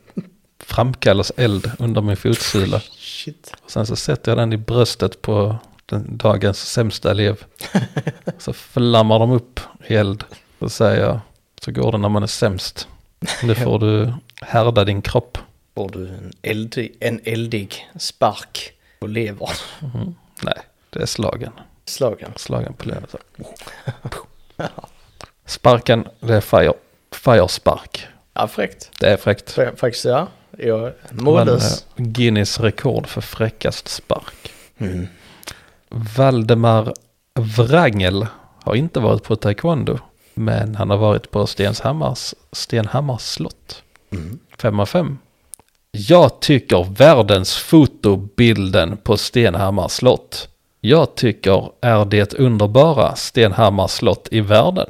S2: framkallas eld under min fotsula.
S1: Shit.
S2: Och sen så sätter jag den i bröstet på den dagens sämsta elev. Så flammar de upp i eld. Så säger jag, så går det när man är sämst. Nu får du härda din kropp.
S1: Får du en eldig, en eldig spark på levern?
S2: Nej, det är slagen.
S1: Slagen.
S2: Slagen på levern. så. Sparken, det är fire. Fire spark.
S1: Ja, fräckt.
S2: Det är fräckt.
S1: Fr- Faktiskt, ja. Jag är
S2: Men, eh,
S1: mållös.
S2: Guinness rekord för fräckast spark.
S1: Mm.
S2: Valdemar Wrangel har inte varit på taekwondo, men han har varit på Stenshammars, Stenhammars slott. Fem av fem. Jag tycker världens fotobilden på Stenhammars slott. Jag tycker är det underbara Stenhammars slott i världen.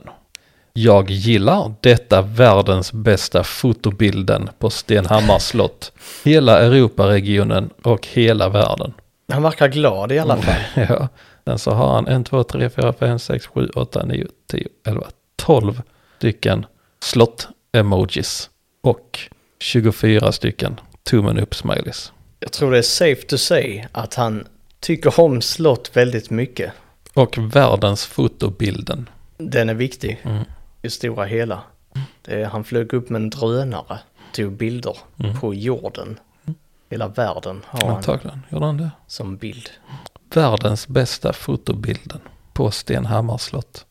S2: Jag gillar detta världens bästa fotobilden på Stenhammars slott. Hela Europaregionen och hela världen.
S1: Han verkar glad i
S2: Oh.
S1: alla fall.
S2: Ja, sen så har han 1, 2, 3, 4, 5, 6, 7, 8, 9, 10, 11, 12 stycken slott-emojis och 24 stycken tummen upp-smileys.
S1: Jag tror det är safe to say att han tycker om slott väldigt mycket.
S2: Och världens fotobilden.
S1: Den är viktig i stora hela. Det är, han flög upp med en drönare, tog bilder på jorden. Hela världen har han
S2: Antagligen gjorde han det.
S1: som bild.
S2: Världens bästa fotobilden på Stenhammars slott.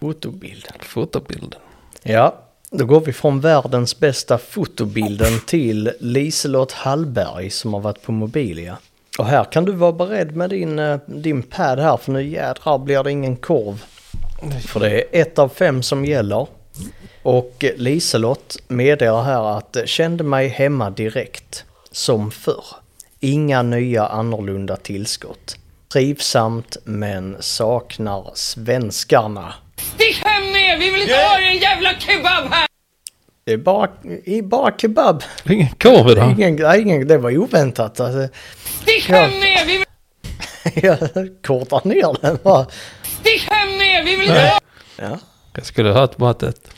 S1: Fotobild.
S2: Fotobilden.
S1: Ja, då går vi från världens bästa fotobilden till Liselott Hallberg som har varit på Mobilia. Och här kan du vara beredd med din, eh, din pad här för nu jädrar blir det ingen korv. För det är ett av fem som gäller. Och Liselott meddelar här att kände mig hemma direkt, som förr. Inga nya annorlunda tillskott. Trivsamt men saknar svenskarna.
S4: Stick hem med er! Vi vill inte ha er en jävla kebab här!
S1: Det är bara, i bara kebab.
S2: Ingen korv idag.
S1: Ingen, nej, ingen, det var oväntat. Alltså,
S4: Stick hem med er! Vi vill,
S1: jag kortar ner den bara.
S4: stick hem med er! Vi vill inte ha...
S1: Ja,
S2: Jag skulle ha hört bara att ett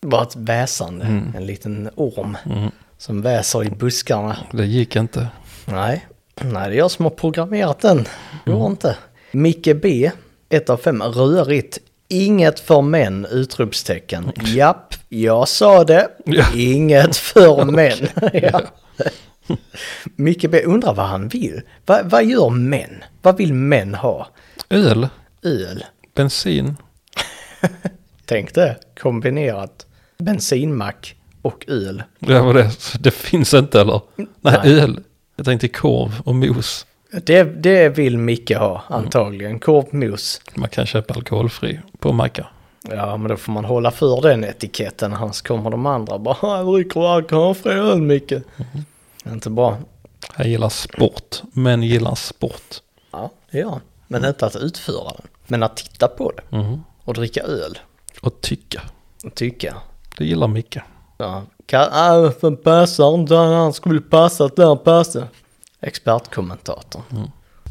S1: bara ett väsande. En liten orm som väser i buskarna.
S2: Det gick inte.
S1: Nej, nej, det är jag som har programmerat den. Går inte. Micke B, ett av fem, rörigt. Inget för män! Utropstecken. Japp, jag sa det.
S2: Ja.
S1: Inget för män. ja. Micke B undrar vad han vill. Va, vad gör män? Vad vill män ha?
S2: Öl,
S1: Öl.
S2: bensin,
S1: Tänk det, kombinerat bensinmack och öl.
S2: Det var det. Så Det finns inte eller? Nej,
S1: Nej.
S2: öl. Jag tänkte korv och mos.
S1: Det, det vill Micke ha antagligen. Korvmos.
S2: Man kan köpa alkoholfri på macka.
S1: Ja, men då får man hålla för den etiketten. Annars kommer de andra bara "Jag dricker alkoholfri öl Micke. Inte bra.
S2: Han gillar sport. Män gillar sport.
S1: Ja, det gör han. Men inte att utföra den. Men att titta på det. Och dricka öl.
S2: Och tycka.
S1: Och tycka.
S2: Det gillar Micke.
S1: Ja, kan, äh, för passar inte. Han skulle passat där passa. Expertkommentator.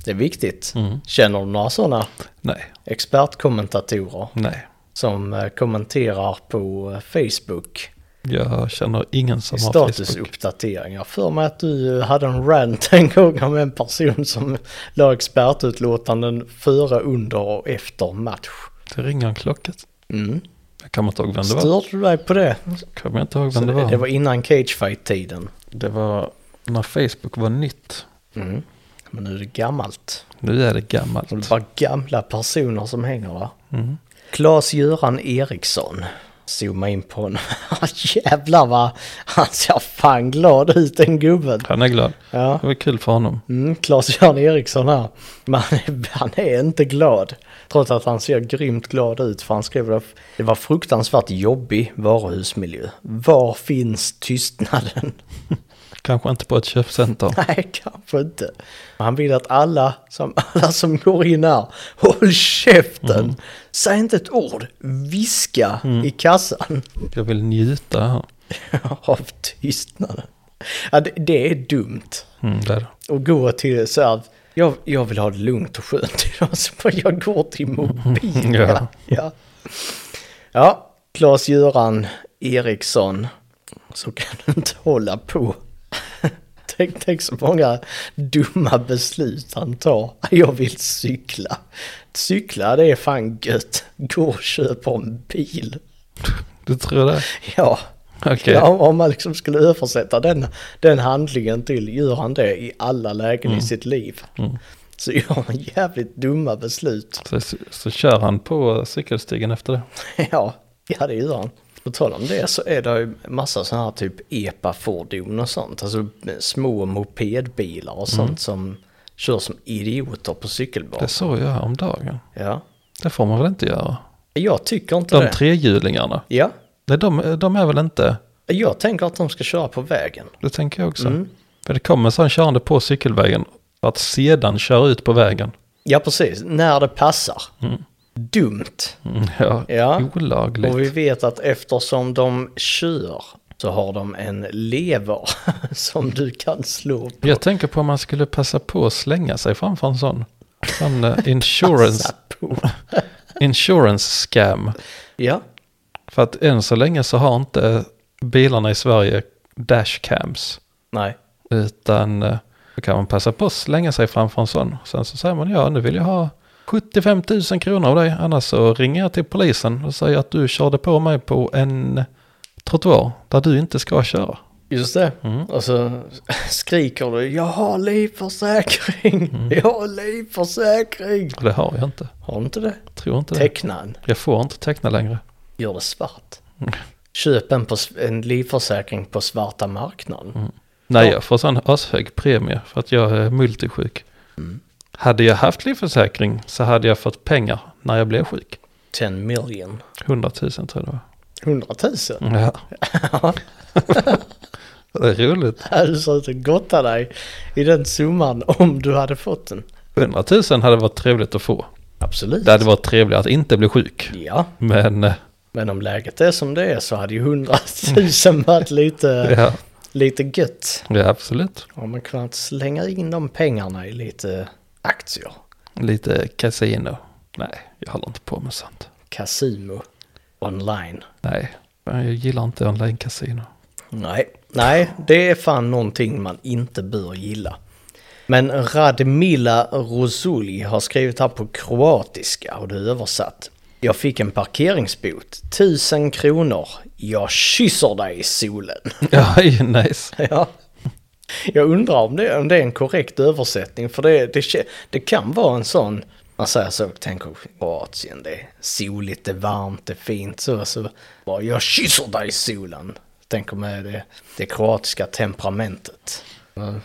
S1: Det är viktigt. Känner du några sådana?
S2: Nej,
S1: expertkommentatorer
S2: nej.
S1: som eh, kommenterar på eh, Facebook.
S2: Jag känner ingen som har Facebook.
S1: Statusuppdateringar. För mig att du eh, hade en rant en gång om en person som la expertutlåtanden före, under och efter match.
S2: Det ringer en klocka.
S1: Mm.
S2: Jag kommer inte ihåg vem det var.
S1: Störde du dig på det?
S2: Kommer jag inte ihåg
S1: Så
S2: vem det var.
S1: Det var innan cagefight-tiden.
S2: Det var när Facebook var nytt.
S1: Men nu är det gammalt.
S2: Nu är det
S1: Och Det är
S2: gammalt.
S1: bara gamla personer som hänger där.
S2: Mm.
S1: Claes-Göran Eriksson. Zooma in på honom. Jävlar vad han ser fan glad ut den gubben.
S2: Han är glad.
S1: Ja.
S2: Det var kul för honom.
S1: Mm, Claes-Göran Eriksson här. Men han är, han är inte glad. Trots att han ser grymt glad ut för han skrev det. Det var fruktansvärt jobbig varuhusmiljö. Var finns tystnaden?
S2: Kanske inte på ett köpcenter.
S1: Nej, kanske inte. Han vill att alla som, alla som går in här, håll käften! Säg inte ett ord, viska i kassan
S2: Jag vill njuta här.
S1: av tystnaden. Ja, det, det är dumt
S2: Mm, det är det.
S1: att gå till så här, jag, jag vill ha det lugnt och skönt idag, så får jag går till mobil.
S2: Ja.
S1: ja. ja Claes-Göran Eriksson, så kan du inte hålla på. Tänk, tänk så många dumma beslut han tar. Jag vill cykla. Cykla det är fan gött. Gå och köp en bil.
S2: Du tror det?
S1: Ja,
S2: Okej.
S1: ja om, om man liksom skulle översätta den, den handlingen till gör han det i alla lägen
S2: Mm.
S1: i sitt liv. Så gör han jävligt dumma beslut.
S2: Så, så, kör han på cykelstigen efter det.
S1: Ja, ja det gör han. På tal om det så är det ju massa sådana här typ EPA-fordon och sånt. Alltså små mopedbilar och sånt
S2: Mm.
S1: som kör som idioter på
S2: Det
S1: cykelbanor.
S2: såg jag häromdagen.
S1: Ja,
S2: Det får man väl inte göra?
S1: jag tycker inte
S2: De
S1: det.
S2: trehjulingarna.
S1: Ja,
S2: Nej, de, de är väl inte...
S1: jag tänker att de ska köra på vägen.
S2: Det tänker jag också.
S1: Mm.
S2: För det kommer en sån körande på cykelvägen. För att sedan köra ut på vägen.
S1: Ja, precis. När det passar. Dumt.
S2: Mm, Ja,
S1: Ja.
S2: olagligt.
S1: Och vi vet att eftersom de kör så har de en lever som du kan slå på.
S2: Jag tänker på om man skulle passa på att slänga sig framför en sån. En eh, insurance,
S1: på.
S2: insurance scam.
S1: Ja,
S2: För att än så länge så har inte bilarna i Sverige dashcams.
S1: nej.
S2: Utan eh, då kan man passa på att slänga sig framför en sån. Sen så säger man ja, nu vill jag ha 75 000 kronor av dig. Annars så ringer jag till polisen och säger att du körde på mig på en trottoar där du inte ska köra.
S1: Just det. Och så skriker du jag har livförsäkring, jag har livförsäkring.
S2: Och det har jag inte.
S1: Har du inte det?
S2: Tror inte det.
S1: Teckna en,
S2: Jag får inte teckna längre.
S1: gör det svart.
S2: Mm.
S1: Köp en, på, s- en livförsäkring på svarta marknaden.
S2: Nej,
S1: Ja.
S2: jag får sån ashög premie för att jag är multisjuk. Hade jag haft livförsäkring så hade jag fått pengar när jag blev sjuk.
S1: 10 million.
S2: 100 000 tror jag det var.
S1: 100 000.
S2: Ja. det är roligt.
S1: Hade du suttit och gottat dig i den summan om du hade fått den?
S2: 100 000 hade varit trevligt att få.
S1: Absolut.
S2: Det hade varit trevligt att inte bli sjuk.
S1: Ja,
S2: Men eh,
S1: men om läget är som det är så hade ju 100 000 varit lite,
S2: ja,
S1: lite gött.
S2: ja, absolut.
S1: Om man kunnat slänga in de pengarna i lite aktier.
S2: Lite casino. Nej, jag håller inte på med sånt.
S1: Casino online.
S2: Nej, men jag gillar inte online-casino.
S1: Nej, nej, det är fan någonting man inte bör gilla. Men Radmila Rosuli har skrivit här på kroatiska och det är översatt. Jag fick en parkeringsbot, tusen kronor. Jag kysser dig i solen.
S2: Ja, nice.
S1: Ja. Jag undrar om det, om det är en korrekt översättning, för det, det, kä- det kan vara en sån, man säger så, tänker Kroatien, det är soligt, det är varmt, det är fint, så, så bara, jag kysser dig i solen, tänker med det, det kroatiska temperamentet.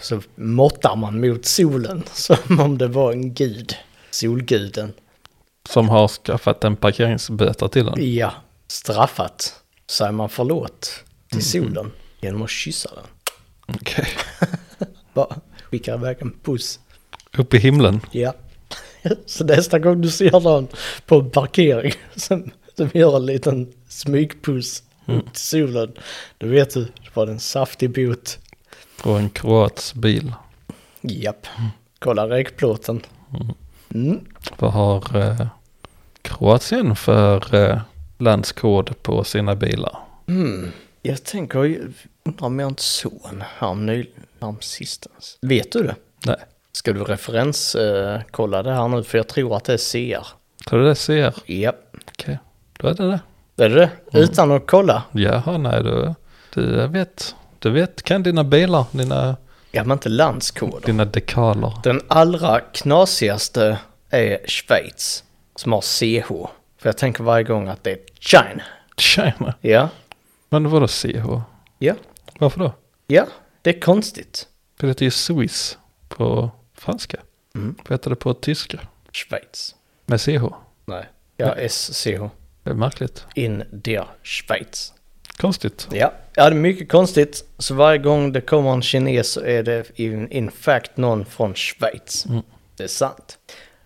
S1: Så måttar man mot solen som om det var en gud, solguden.
S2: Som har skaffat en parkeringsböter till den.
S1: Ja, straffat säger man förlåt till solen genom att kyssa den.
S2: Okej.
S1: Bara skickar iväg en puss.
S2: Upp i himlen.
S1: Ja. Så nästa gång du ser någon på en parkering som, som gör en liten smygpuss mot solen, då vet du, det var en saftig bot.
S2: Och en kroats bil.
S1: Japp. Kolla räkplåten. Mm.
S2: Vad har eh, Kroatien för eh, landskod på sina bilar?
S1: Jag tänker, ju- undrar om jag har en son härom nyl- härom sistens. Vet du det?
S2: Nej,
S1: Ska du referenskolla eh, kolla det här nu? För jag tror att det är CR.
S2: tror du det ser?
S1: Japp. Mm.
S2: Okej, då är det det.
S1: Är det det? Utan att kolla?
S2: Jaha, nej du, du vet, du vet, kan dina bilar, dina,
S1: Ja, men inte landskoder.
S2: dina dekaler.
S1: Den allra knasigaste är Schweiz, som har CH. För jag tänker varje gång att det är China.
S2: Tjena,
S1: Ja,
S2: men vadå CH?
S1: ja,
S2: Varför då?
S1: ja, det är konstigt.
S2: För det heter ju Swiss på franska. Mm. Vad heter det på tyska?
S1: Schweiz.
S2: Med CH.
S1: Nej, ja, SCH.
S2: Det är märkligt.
S1: In der Schweiz.
S2: Konstigt.
S1: Ja, ja, det är mycket konstigt. Så varje gång det kommer en kines så är det in, in fact någon från Schweiz. Det är sant.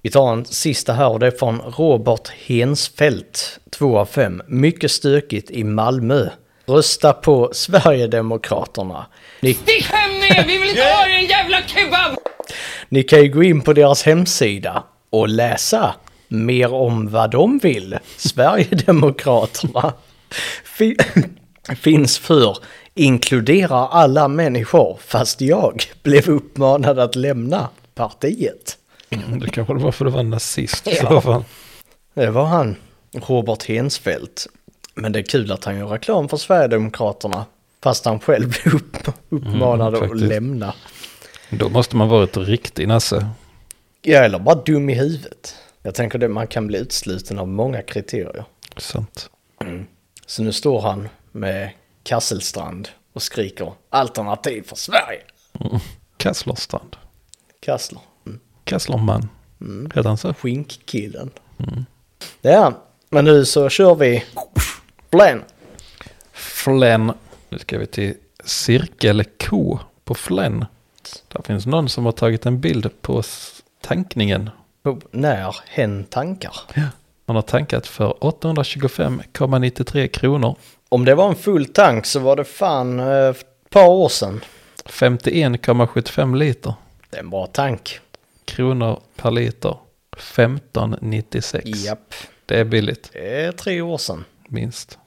S1: Vi tar en sista här och det är från Robert Hensfeldt, 2 av 5. Mycket stökigt i Malmö. Rösta på Sverigedemokraterna. Ni,
S4: Stick hem med er, vi vill inte ha er jävla kebab!
S1: ni kan ju gå in på deras hemsida och läsa mer om vad de vill. Sverigedemokraterna. Fi- finns för inkluderar alla människor fast jag blev uppmanad att lämna partiet.
S2: Det kanske var för att du var nazist i alla fall.
S1: Det var han, Robert Hensfeldt. Men det är kul att han gör reklam för Sverigedemokraterna fast han själv blev upp, uppmanad
S2: Mm,
S1: att
S2: faktiskt.
S1: lämna.
S2: Då måste man varit riktig nasse.
S1: Ja, eller bara dum i huvudet. Jag tänker att man kan bli utsluten av många kriterier.
S2: Sant.
S1: Så nu står han med Kasselstrand och skriker alternativ för Sverige.
S2: Kasslerstrand.
S1: Kassler.
S2: Kasslerman. Hette han så?
S1: Skinkkillen. Ja, men nu så kör vi. Blän.
S2: Flen. Nu ska vi till cirkel K på Flen. Där finns någon som har tagit en bild på s- tankningen.
S1: På- När hen tankar.
S2: Man har tankat för 825,93 kronor.
S1: Om det var en full tank så var det fan eh, ett par år sedan.
S2: 51,75 liter.
S1: Det är en bra tank.
S2: Kronor per liter. 15,96.
S1: Japp,
S2: Det är billigt,
S1: det är tre år sedan.
S2: minst.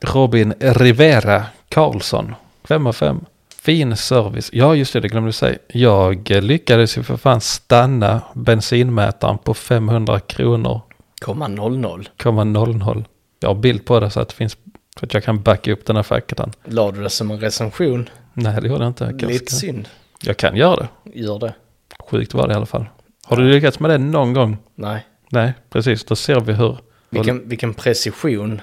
S2: Robin Rivera Karlsson. 5 av 5. Fin service. Ja, just det, det glömde jag säga. Jag eh, lyckades ju för fan stanna bensinmätaren på 500 kronor.
S1: Komma 00.
S2: 0,00. Jag har bild på det så att, det finns, så att jag kan backa upp den här faktan.
S1: La du det som en recension?
S2: Nej, det gjorde jag inte. Jag kanske
S1: Lite
S2: ska-
S1: synd.
S2: Jag kan göra det.
S1: Gör det.
S2: Sjukt var det i alla fall. Har du lyckats med det någon gång?
S1: Nej.
S2: Nej, precis. Då ser vi hur.
S1: Vilken, vilken precision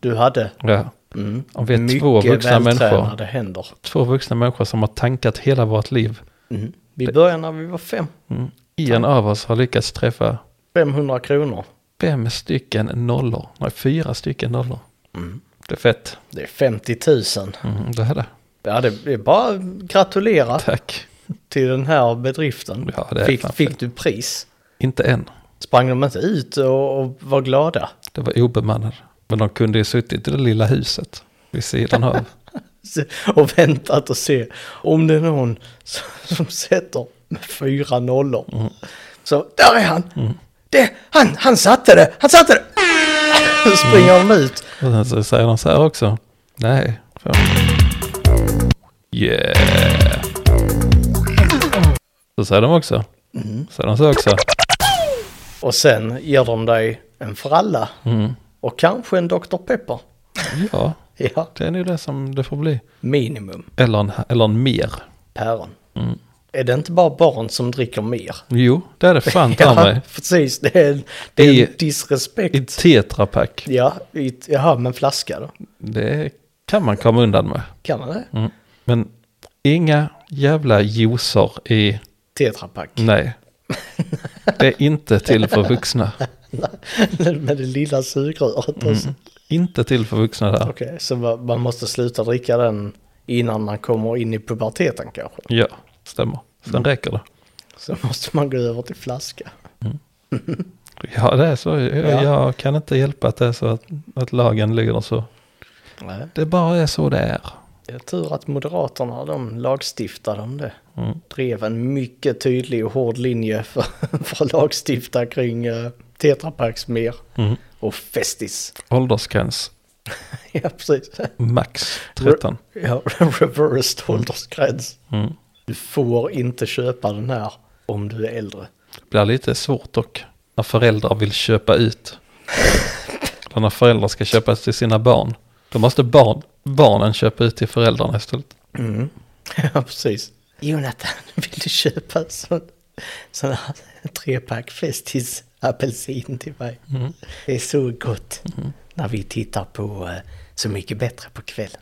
S1: du hade.
S2: Ja.
S1: Mm.
S2: Om vi är två vuxna människor.
S1: vältränade händer.
S2: Två vuxna människor som har tankat hela vårt liv. Mhm.
S1: Mm. Vi började när vi var fem.
S2: Mm. En av oss har lyckats träffa
S1: 500 kronor.
S2: fem stycken nollor. Nej, fyra stycken nollor. Det är fett.
S1: Det är 50 000.
S2: Mm, det är det.
S1: Ja, det är bara att gratulera
S2: Tack.
S1: till den här bedriften.
S2: Ja, det är fan
S1: fick,
S2: fett.
S1: fick du pris?
S2: Inte än.
S1: Sprang de inte ut och, och var glada?
S2: Det var obemannad. Men de kunde ju suttit i det lilla huset vid sidan av.
S1: Se- Och väntat och se om det är någon som, som sätter med fyra nollor.
S2: Mhm.
S1: Så där är han! Det, han! Han satte det! Han satte det! Så springer de ut.
S2: Och sen så säger de så här också. Nej. Fan. Yeah. Så säger de också. Säger de så också.
S1: Och sen ger de dig en fralla.
S2: Mm.
S1: Och kanske en Dr. Pepper.
S2: Ja,
S1: Ja,
S2: det är nog det som det får bli.
S1: minimum.
S2: Eller en, eller en mer.
S1: Päron.
S2: Mm.
S1: Är det inte bara barn som dricker mer?
S2: Jo, det är det fan ta mig.
S1: precis. Det är, det är
S2: I-
S1: en disrespekt.
S2: I tetrapack.
S1: ja, i, jaha, men flaska då?
S2: Det kan man komma undan med.
S1: Kan man det?
S2: Mm. Men inga jävla juicer i...
S1: Tetrapack.
S2: Nej. Det är inte till för vuxna. Mm.
S1: Med det lilla sugröret. alltså.
S2: Inte till för vuxna där.
S1: Okej, så ma- man måste sluta dricka den innan man kommer in i puberteten kanske.
S2: Ja, stämmer. Sen
S1: Mm.
S2: räcker det.
S1: Så måste man gå över till flaska.
S2: Ja, det är så. Jag,
S1: Ja.
S2: jag kan inte hjälpa att det är så att, att lagen lyder så.
S1: Nej.
S2: Det bara är så det är.
S1: Det är tur att Moderaterna, de lagstiftade om det.
S2: Mm.
S1: Drev en mycket tydlig och hård linje för, för att lagstifta kring uh, tetrapacks mer.
S2: Mm.
S1: Och Festis.
S2: Åldersgräns
S1: ja, precis.
S2: max 13.
S1: Ja, reversed åldersgräns.
S2: Mm.
S1: Du får inte köpa den här om du är äldre.
S2: Det blir lite svårt dock när föräldrar vill köpa ut. Eller när föräldrar ska köpa till sina barn. Då måste barn, barnen köpa ut till föräldrarna istället.
S1: Ja, precis. Jonathan, vill du köpa en sån, sån här trepack Festis apelsin till mig? Det är så gott när vi tittar på eh, Så mycket bättre på kvällen.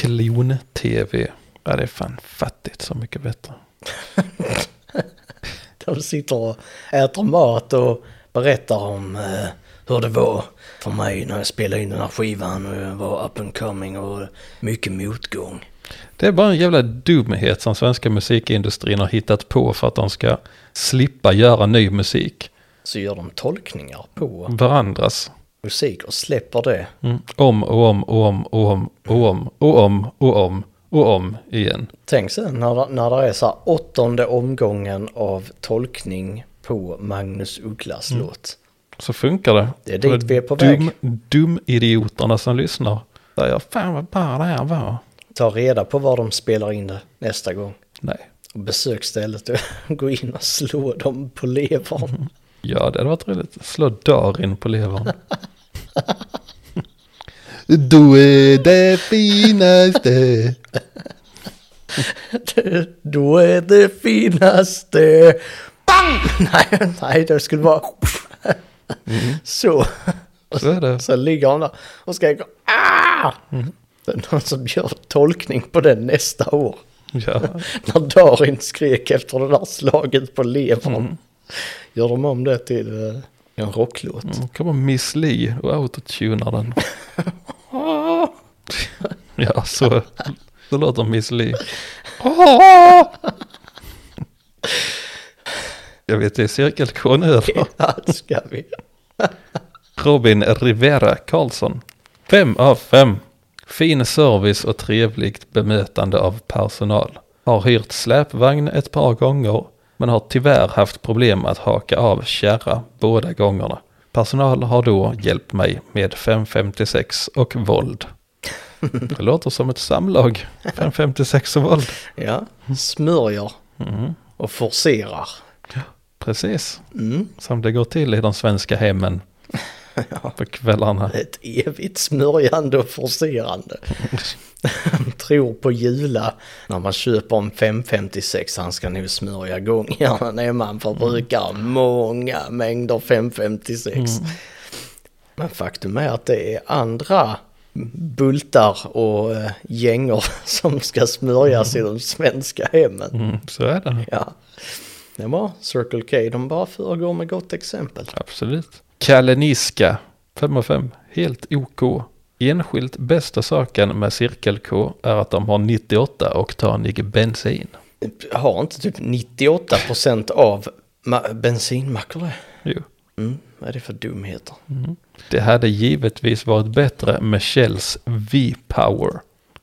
S2: Klon-tv. Ja, det är fan fattigt så mycket bättre.
S1: De sitter och äter mat och berättar om eh, hur det var för mig när jag spelade in den här skivan och jag var up and coming och mycket motgång.
S2: Det är bara en jävla dumhet som svenska musikindustrin har hittat på för att de ska slippa göra ny musik.
S1: Så gör de tolkningar på
S2: Varandras.
S1: musik och släpper det.
S2: Mm. Om och om och om och om och om och om och om och om igen.
S1: Tänk sen när, när det är så här åttonde omgången av tolkning på Magnus Ugglas låt.
S2: Så funkar det.
S1: Det är dit
S2: Och
S1: vi är på
S2: dum, Dumidioterna som lyssnar. ofta jag, fan vad bra det här var.
S1: Ta reda på var de spelar in det nästa gång.
S2: Nej,
S1: Och besök stället och gå in och slå dem på levern.
S2: ja det hade varit roligt. Slå Darin på levern. du är det finaste.
S1: Då är det finaste. Bang! Nej, nej, det skulle vara... Så.
S2: Så är det.
S1: Så ligger han där och skriker ah! Det är någon som gör tolkning på den nästa år.
S2: Ja.
S1: När Darin skrek efter det där slaget på levern. Gör de om det till eh, en rocklåt.
S2: Mm, kommer Miss Li och autotunar den. ja, så, så låter Miss Li. Jag vet, det är cirkelkon över.
S1: Ja, ska vi.
S2: Robin Rivera Karlsson. Fem av fem. Fin service och trevligt bemötande av personal. Har hyrt släpvagn ett par gånger, men har tyvärr haft problem att haka av kärra båda gångerna. Personal har då hjälpt mig med 556 och våld. Det låter som ett samlag. 556 och våld.
S1: Ja, smörjer och forcerar.
S2: Precis. Som det går till i de svenska hemmen. På kvällarna.
S1: Ett evigt smörjande och forcerande. Tror på Jula när man köper en 556, han ska nu smörja gångjärnen när man förbrukar många mängder 556. Men faktum är att det är andra bultar och eh, gängor som ska smörjas i de svenska hemmen.
S2: Mm, så är det.
S1: Ja, det var Circle K, de bara föregår med gott exempel.
S2: Absolut. Kaleniska, 5 av 5, helt OK. Enskilt bästa saken med Cirkel K är att de har 98 oktanig bensin.
S1: Har inte typ 98% av ma- bensinmackar det?
S2: Jo.
S1: Mm, vad är det för dumheter?
S2: Det hade givetvis varit bättre med Shells V-Power.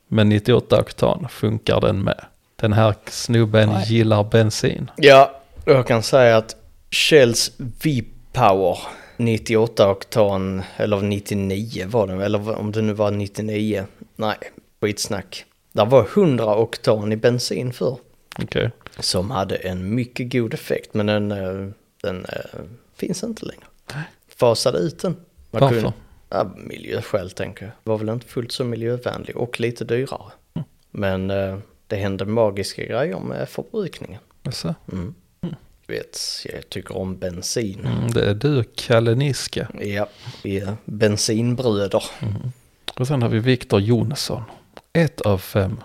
S2: Men 98 oktan funkar den med. Den här snubben gillar bensin.
S1: Ja, jag kan säga att Shells V-Power 98 oktan, eller 99 var den eller om det nu var 99. Nej, skitsnack. Där var 100 oktan i bensin för.
S2: Okej.
S1: Som hade en mycket god effekt, men den, eh, den eh, finns inte längre. Fasade ut den. Man
S2: Varför?
S1: ja, miljöskäl tänker jag. Var väl inte fullt så miljövänlig och lite dyrare. Men eh, det hände magiska grejer med förbrukningen.
S2: Jaså?
S1: Du vet, jag tycker om bensin.
S2: Mm, det är du, Kaleniska.
S1: Ja, vi är bensinbröder.
S2: Och sen har vi Viktor Jonsson. Ett av fem.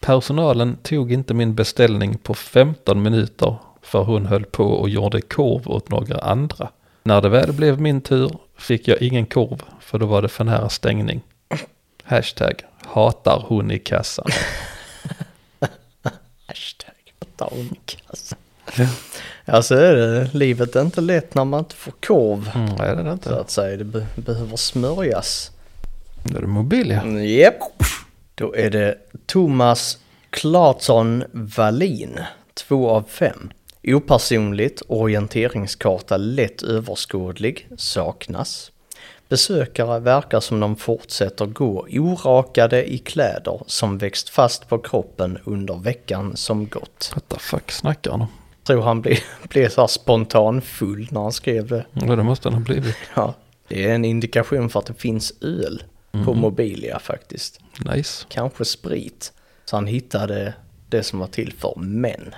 S2: Personalen tog inte min beställning på 15 minuter för hon höll på och gjorde korv åt några andra. När det väl blev min tur fick jag ingen korv för då var det för nära stängning. Hashtag hatar hon i kassan.
S1: Hashtag downkass. Ja, så är det. Livet är inte lätt när man inte får korv.
S2: Mm, nej, det är det
S1: Så
S2: inte.
S1: att säga, det be- behöver smörjas.
S2: Då är det Mobilia.
S1: Japp. Då är det Thomas Clartson Wallin, 2 av 5. Opersonligt, orienteringskarta lätt överskådlig, saknas. Besökare verkar som de fortsätter gå orakade i kläder som växt fast på kroppen under veckan som gått.
S2: What the fuck snackar han om?
S1: Tror han blev, blev så här spontan full när han skrev det.
S2: Ja, det måste han ha blivit.
S1: Ja, det är en indikation för att det finns öl på Mobilia faktiskt
S2: Nice.
S1: kanske sprit. Så han hittade det som var till för män.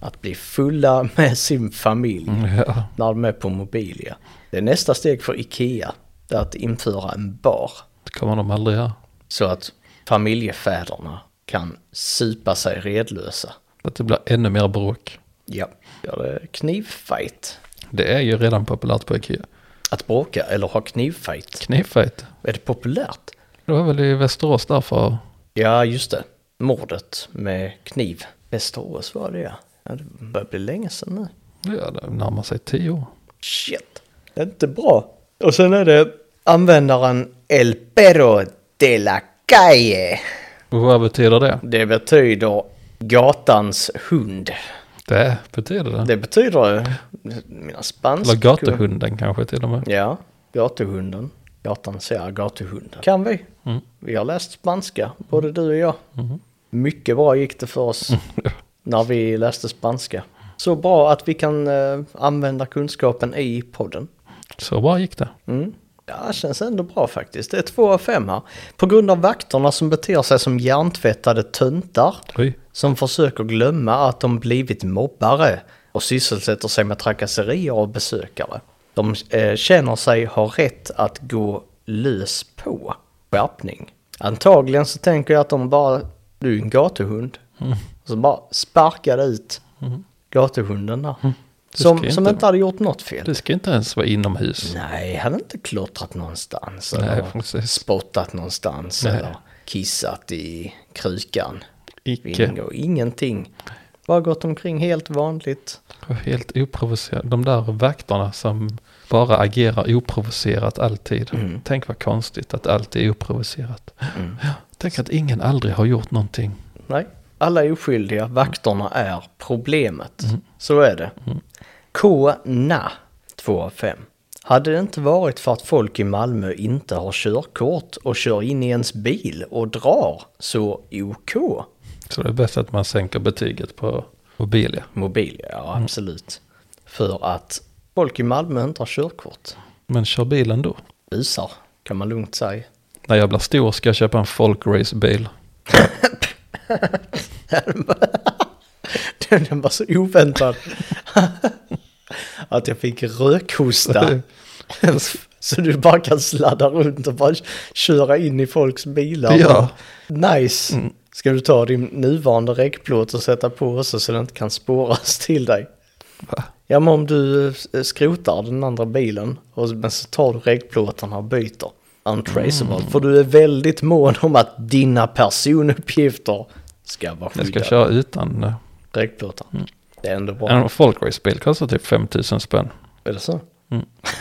S1: Att bli fulla med sin familj
S2: Mm. Ja,
S1: när de är på Mobilia. Det är nästa steg för Ikea. Det är att införa en bar.
S2: det kommer de aldrig göra.
S1: Så att familjefäderna kan supa sig redlösa.
S2: Att det blir ännu mer bråk.
S1: Ja, ja det är knivfight.
S2: Det är ju redan populärt på Ikea.
S1: Att bråka eller ha knivfight.
S2: Knivfight.
S1: Är det populärt?
S2: Det var väl i Västerås där för...
S1: Ja, just det. Mordet med kniv. Västerås var det ja. ja det börjar bli länge sedan nu.
S2: Ja, det närmar sig tio år.
S1: Shit. Det är inte bra. Och sen är det användaren El Perro de la Calle.
S2: Och vad betyder det?
S1: Det betyder gatans hund.
S2: Det betyder det.
S1: Det betyder mina spanska...
S2: Eller gatuhunden kanske till och med.
S1: Ja, gatuhunden. Gatan ser gatuhunden. Kan vi?
S2: Mm. Mm-hmm.
S1: Vi har läst spanska, både du och jag. Mycket bra gick det för oss när vi läste spanska. Så bra att vi kan eh, använda kunskapen i podden.
S2: Så bra gick det.
S1: Mm. Ja, det känns ändå bra faktiskt. Det är två av fem här. På grund av vakterna som beter sig som hjärntvättade töntar
S2: Oj.
S1: som försöker glömma att de blivit mobbare och sysselsätter sig med trakasserier av besökare. De eh, känner sig ha rätt att gå lös på skärpning. Antagligen så tänker jag att de bara, du är en gatuhund.
S2: Mm.
S1: Så bara sparkade ut gatuhunden där.
S2: Mm. ska
S1: Som,
S2: ju
S1: som
S2: inte-
S1: inte hade gjort något fel.
S2: Du ska inte ens vara inomhus.
S1: Nej, han har inte klottrat någonstans.
S2: Nej,
S1: eller
S2: precis.
S1: spottat någonstans.
S2: Nej.
S1: Eller kissat i krukan.
S2: Icke.
S1: Bingo, ingenting. Bara gått omkring helt vanligt.
S2: Helt oprovocerat. De där vakterna som bara agerar oprovocerat alltid. Tänk vad konstigt att allt är oprovocerat. Ja, Tänk att ingen aldrig har gjort någonting.
S1: Nej, alla är oskyldiga. Vakterna är problemet.
S2: Mm.
S1: Så är det. K. Na, 2 av 5. Hade det inte varit för att folk i Malmö inte har körkort och kör in i ens bil och drar, så OK.
S2: Så det är bäst att man sänker betyget på Mobilia.
S1: Mobil, ja absolut. För att folk i Malmö inte har körkort.
S2: Men kör bilen då.
S1: Busar, kan man lugnt säga.
S2: När jag blir stor ska jag köpa en folkracebil.
S1: Den var så oväntad. att jag fick rökhosta. så du bara kan sladda runt och bara köra in i folks bilar.
S2: Ja.
S1: Nice. Ska du ta din nuvarande räckplåt och sätta på också så den inte kan spåras till dig?
S2: Va?
S1: Ja men om du eh, skrotar den andra bilen och, men så tar du regplåtarna och byter. Untraceable.
S2: Mm.
S1: För du är väldigt mån om att dina personuppgifter ska vara
S2: Jag
S1: skyddade.
S2: ska köra utan. eh,
S1: Regplåtar. Det är ändå bra.
S2: En folkracebil kostar typ 5000 spänn.
S1: Är det så?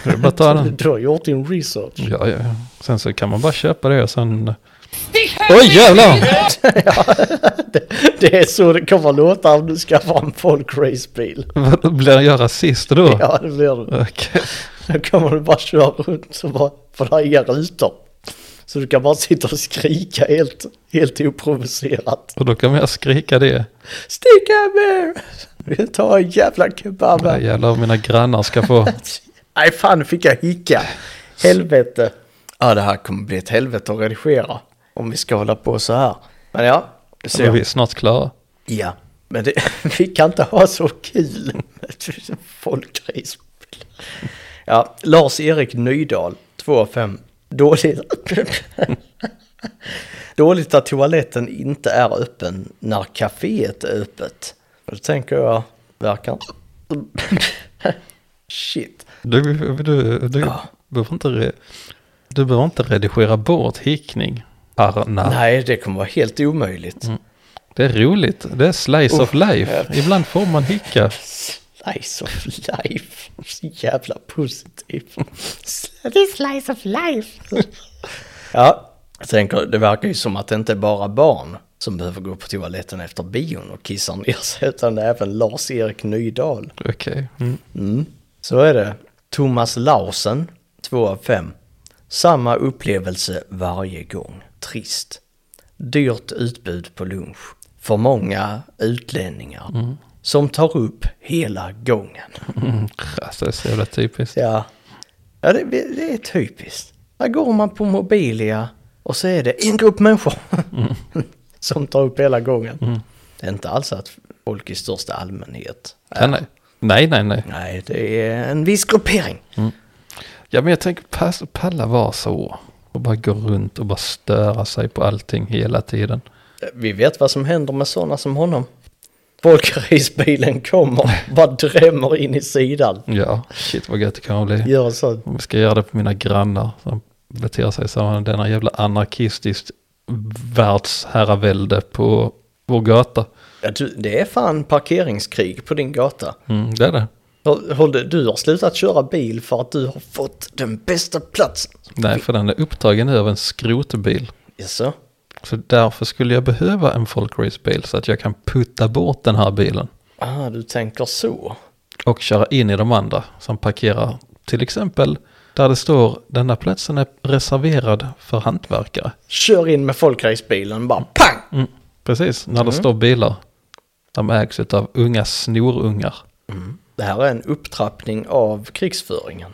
S2: Det är bara att ta den.
S1: Du har gjort din research.
S2: Ja, ja. ja. Sen så kan man bara köpa det och sen...
S4: Stick här!
S2: Oj jävlar!
S1: Det är så det kommer att låta om du skaffar en folkracebil.
S2: Vad Blir jag rasist då?
S1: Ja det blir du.
S2: Okej.
S1: Då kommer du bara köra runt och bara, för det är inga rutor. Så du kan bara sitta och skrika helt, helt oprovocerat.
S2: Och då kan jag skrika det.
S1: Stick hammer! Vi tar en jävla kebab
S2: Ja,
S1: här.
S2: jävlar vad mina grannar ska få.
S1: Nej fan, nu fick jag hicka. Helvete. Ja, det här kommer bli ett helvete att redigera. Om vi ska hålla på så här. Men ja, det
S2: Så är
S1: ser
S2: vi snart klara.
S1: Ja, men det, vi kan inte ha så kul med folkrace. Ja, Lars-Erik Nydahl, 2 av 5. Dåligt. Dåligt att toaletten inte är öppen när kaféet är öppet. Och Då tänker jag, verkar inte- Shit.
S2: Du, du, du,
S1: Ja.
S2: behöver, inte re, du behöver inte redigera bort hickning. Arna.
S1: Nej, det kommer vara helt omöjligt.
S2: Det är roligt. Det är slice of life. Ibland får man hicka.
S1: Slice of life. Så jävla positiv.
S5: This slice of life.
S1: Ja, jag tänker, det verkar ju som att det inte är bara barn som behöver gå på toaletten efter bion och kissa ner sig, utan det är även Lars-Erik Nydahl.
S2: Okej. Mm.
S1: Så är det. Thomas Larsen, 2 av 5. Samma upplevelse varje gång. Trist. Dyrt utbud på lunch. För många utlänningar. Som tar upp hela gången.
S2: Alltså, det är så jävla typiskt.
S1: Ja, ja det, det är typiskt. Där går man på Mobilia och så är det en grupp människor som tar upp hela gången. Det är inte alls att folk i största allmänhet.
S2: Ja, nej. nej, nej, nej.
S1: Nej, det är en viss gruppering.
S2: Ja, men jag tänker pass, palla vara så. Och bara gå runt och bara störa sig på allting hela tiden.
S1: Vi vet vad som händer med sådana som honom. Folkracebilen kommer, bara drämmer in i sidan.
S2: Ja, shit vad gött det kan bli.
S1: Gör så.
S2: Om jag ska göra det på mina grannar som beter sig som denna jävla anarkistiskt världsherravälde på vår gata.
S1: Ja, du, det är fan parkeringskrig på din gata.
S2: Mm, det är det.
S1: Håll- håll det- Du har slutat köra bil för att du har fått den bästa platsen.
S2: Nej, för den är upptagen nu av en skrotbil.
S1: Jaså?
S2: Så därför skulle jag behöva en folkracebil så att jag kan putta bort den här bilen.
S1: Ah, du tänker så.
S2: och köra in i de andra som parkerar till exempel Där det står denna platsen är reserverad för hantverkare.
S1: Kör in med folkracebilen bara pang!
S2: Precis, när det står bilar. De ägs av unga snorungar.
S1: Det här är en upptrappning av krigsföringen.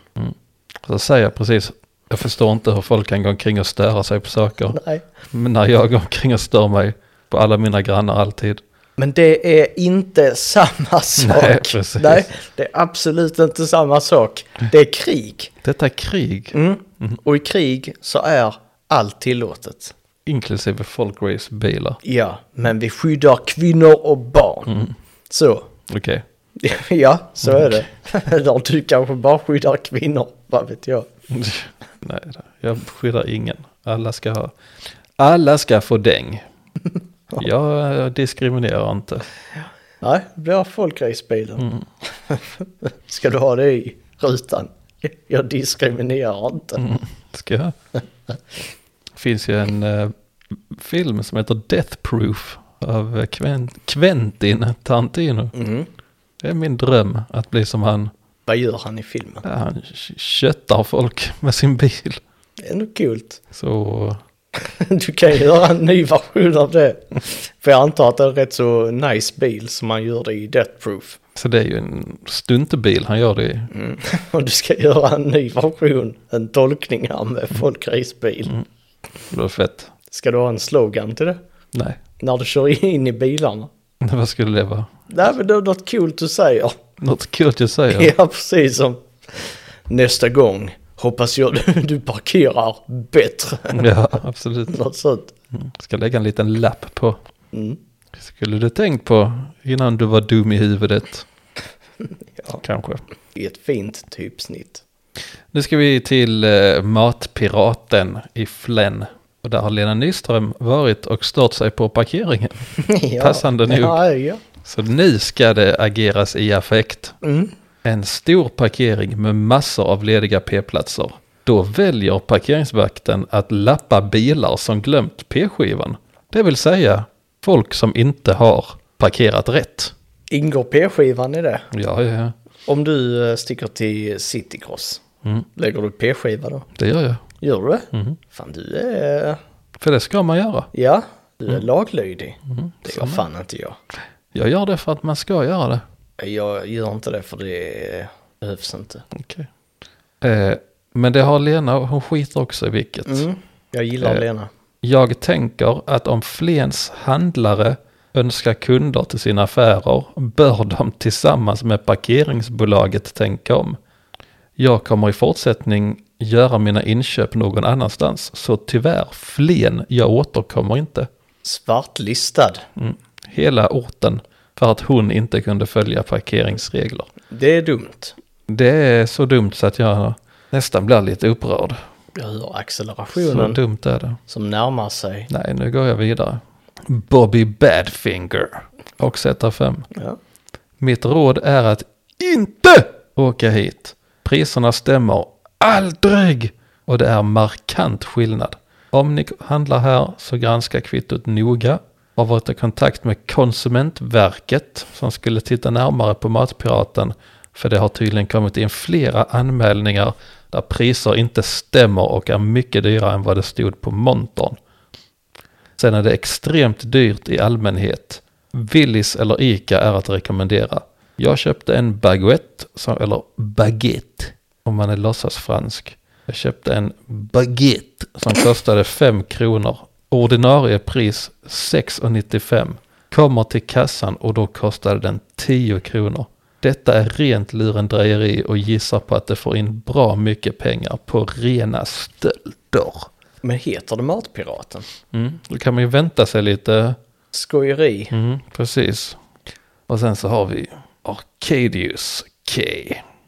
S2: Så säger jag precis, jag förstår inte hur folk kan gå omkring och störa sig på saker.
S1: Nej.
S2: Men när jag går omkring och stör mig på alla mina grannar alltid.
S1: Men det är inte samma sak.
S2: Nej, precis.
S1: det är absolut inte samma sak. Det är krig.
S2: Detta är krig,
S1: Mm. Och i krig så är allt tillåtet.
S2: inklusive folkracebilar.
S1: Ja, men vi skyddar kvinnor och barn.
S2: Mm.
S1: Så,
S2: Okej,
S1: ja, så är det. Eller du kanske bara skyddar kvinnor, vad vet jag.
S2: nej, jag skyddar ingen. Alla ska ha, alla ska få däng. Jag eh, diskriminerar inte.
S1: Nej, det blir folkracebilen. Ska du ha det i rutan? Jag diskriminerar inte.
S2: Mm. Ska jag? finns ju en eh, film som heter Death Proof av eh, Quen- Quentin Tarantino. Det är min dröm att bli som han.
S1: Vad gör han i filmen?
S2: Ja, Han k- köttar folk med sin bil.
S1: Det är nog kul.
S2: Så
S1: Du kan ju göra en ny version av det. För jag antar att det är en rätt så nice bil som man gjorde i Death Proof.
S2: Så det är ju en stuntbil han gör det i.
S1: Mm. Och du ska göra en ny version, en tolkning här med folkracebil.
S2: Det var fett.
S1: Ska du ha en slogan till det?
S2: Nej,
S1: När du kör in i bilarna?
S2: vad skulle det vara?
S1: Nej men det är något kul du säger.
S2: Något kul jag säger.
S1: Ja precis som nästa gång hoppas jag du parkerar bättre.
S2: Ja, absolut.
S1: Något sånt.
S2: Ska lägga en liten lapp på.
S1: Mm.
S2: Skulle du tänkt på innan du var dum i huvudet? Kanske.
S1: I ett fint typsnitt.
S2: Nu ska vi till eh, Matpiraten i Flen. Och där har Lena Nyström varit och stört sig på parkeringen.
S1: Ja.
S2: Passande nog.
S1: Ja, ja.
S2: Så nu ska det ageras i affekt. En stor parkering med massor av lediga p-platser. Då väljer parkeringsvakten att lappa bilar som glömt p-skivan. Det vill säga folk som inte har parkerat rätt.
S1: Ingår p-skivan i det?
S2: Ja, ja, ja.
S1: Om du eh, sticker till Citycross,
S2: Mm.
S1: lägger du p-skiva då?
S2: det gör jag.
S1: Gör du det?
S2: Mm-hmm.
S1: Fan du är...
S2: För det ska man göra.
S1: Ja, du är laglydig. Det gör
S2: Mm. Mm-hmm. samma.
S1: fan inte jag.
S2: Jag gör det för att man ska göra det.
S1: Jag gör inte det för det behövs inte.
S2: Okej. Eh, men det har Lena, och hon skiter också i vilket.
S1: Jag gillar
S2: Eh.
S1: Lena.
S2: Jag tänker att om Flens handlare önskar kunder till sina affärer bör de tillsammans med parkeringsbolaget tänka om. Jag kommer i fortsättning göra mina inköp någon annanstans, så tyvärr Flen, jag återkommer inte.
S1: Svartlistad.
S2: Mm. Hela orten för att hon inte kunde följa parkeringsregler.
S1: Det är dumt.
S2: Det är så dumt så att jag nästan blir lite upprörd.
S1: Jag hör
S2: Så
S1: accelerationen
S2: dumt är det.
S1: som närmar sig.
S2: Nej, nu går jag vidare. Bobby Badfinger och Z5.
S1: Ja.
S2: Mitt råd är att INTE åka hit. Priserna stämmer ALDRIG och det är markant skillnad. Om ni handlar här så granska kvittot noga. Har varit i kontakt med Konsumentverket som skulle titta närmare på Matpiraten för det har tydligen kommit in flera anmälningar där priser inte stämmer och är mycket dyrare än vad det stod på montern. Sen är det extremt dyrt i allmänhet. Willys eller Ica är att rekommendera. Jag köpte en baguette, som, eller baguette, om man är låtsasfransk. Jag köpte en baguette som kostade 5 kronor. Ordinarie pris 6,95. Kommer till kassan och då kostade den 10 kronor. Detta är rent lurendrejeri och gissar på att det får in bra mycket pengar på rena stölder.
S1: Men heter det Matpiraten?
S2: Mm. Då kan man ju vänta sig lite.
S1: Skojeri.
S2: Mm, precis. Och sen så har vi Arcadius K.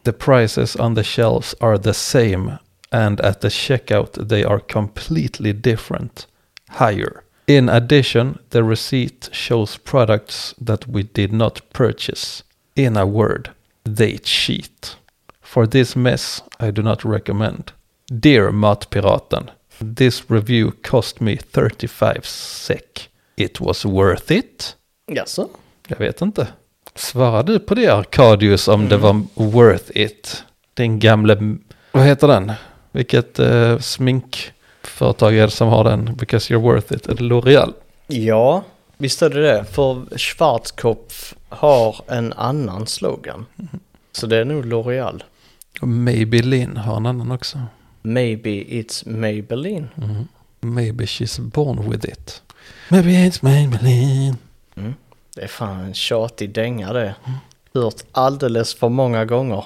S2: The prices on the shelves are the same and at the checkout they are completely different. Higher. In addition, the receipt shows products that we did not purchase. In a word, they cheat. For this mess, I do not recommend. Dear Matpiraten, this review cost me 35 sek. It was worth it?
S1: Jaså?
S2: Jag vet inte. Svarar du på det Arkadius om det var worth it? Den gamle Mm. vad heter den? Vilket eh, sminkföretag är det som har den? Because you're worth it. Är det L'Oreal?
S1: Ja, visst är det det. För Schwarzkopf har en annan slogan. Så det är nog L'Oreal.
S2: Och Maybelline har en annan också.
S1: Maybe it's Maybelline.
S2: Maybe she's born with it. Maybe it's Maybelline.
S1: Det är fan en tjatig dänga det. Hört alldeles för många gånger.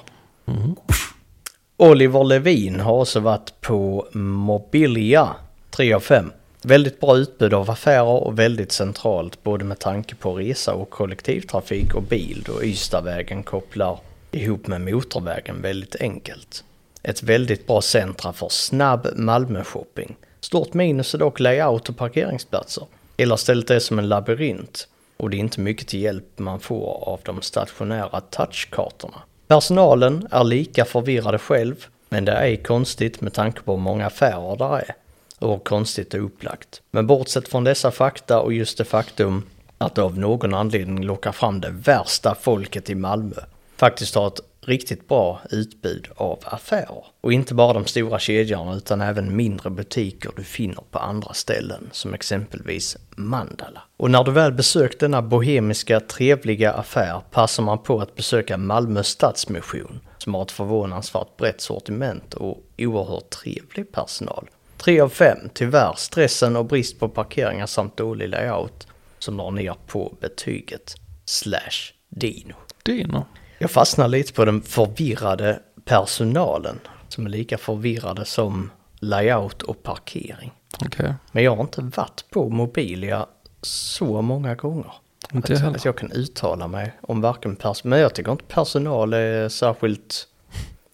S1: Oliver Levin har också varit på Mobilia 3 av 5. Väldigt bra utbud av affärer och väldigt centralt både med tanke på resa och kollektivtrafik och bil då Ystadvägen kopplar ihop med motorvägen väldigt enkelt. Ett väldigt bra centra för snabb Malmö-shopping. Stort minus är dock layout och parkeringsplatser. Hela stället är som en labyrint och det är inte mycket till hjälp man får av de stationära touchkartorna. Personalen är lika förvirrade själv, men det är konstigt med tanke på hur många affärer där är och hur konstigt det är upplagt. Men bortsett från dessa fakta och just det faktum att det av någon anledning lockar fram det värsta folket i Malmö, faktiskt har ett riktigt bra utbud av affärer. Och inte bara de stora kedjorna utan även mindre butiker du finner på andra ställen som exempelvis Mandala. Och när du väl besökt denna bohemiska trevliga affär passar man på att besöka Malmö Stadsmission som har ett förvånansvärt brett sortiment och oerhört trevlig personal. 3 av 5, tyvärr stressen och brist på parkeringar samt dålig layout som drar ner på betyget slash dino.
S2: Dino.
S1: Jag fastnar lite på den förvirrade personalen som är lika förvirrade som layout och parkering.
S2: Okej.
S1: Men jag har inte varit på Mobilia så många gånger.
S2: Inte jag
S1: att,
S2: heller.
S1: att jag kan uttala mig om varken personal, men jag tycker inte personal är särskilt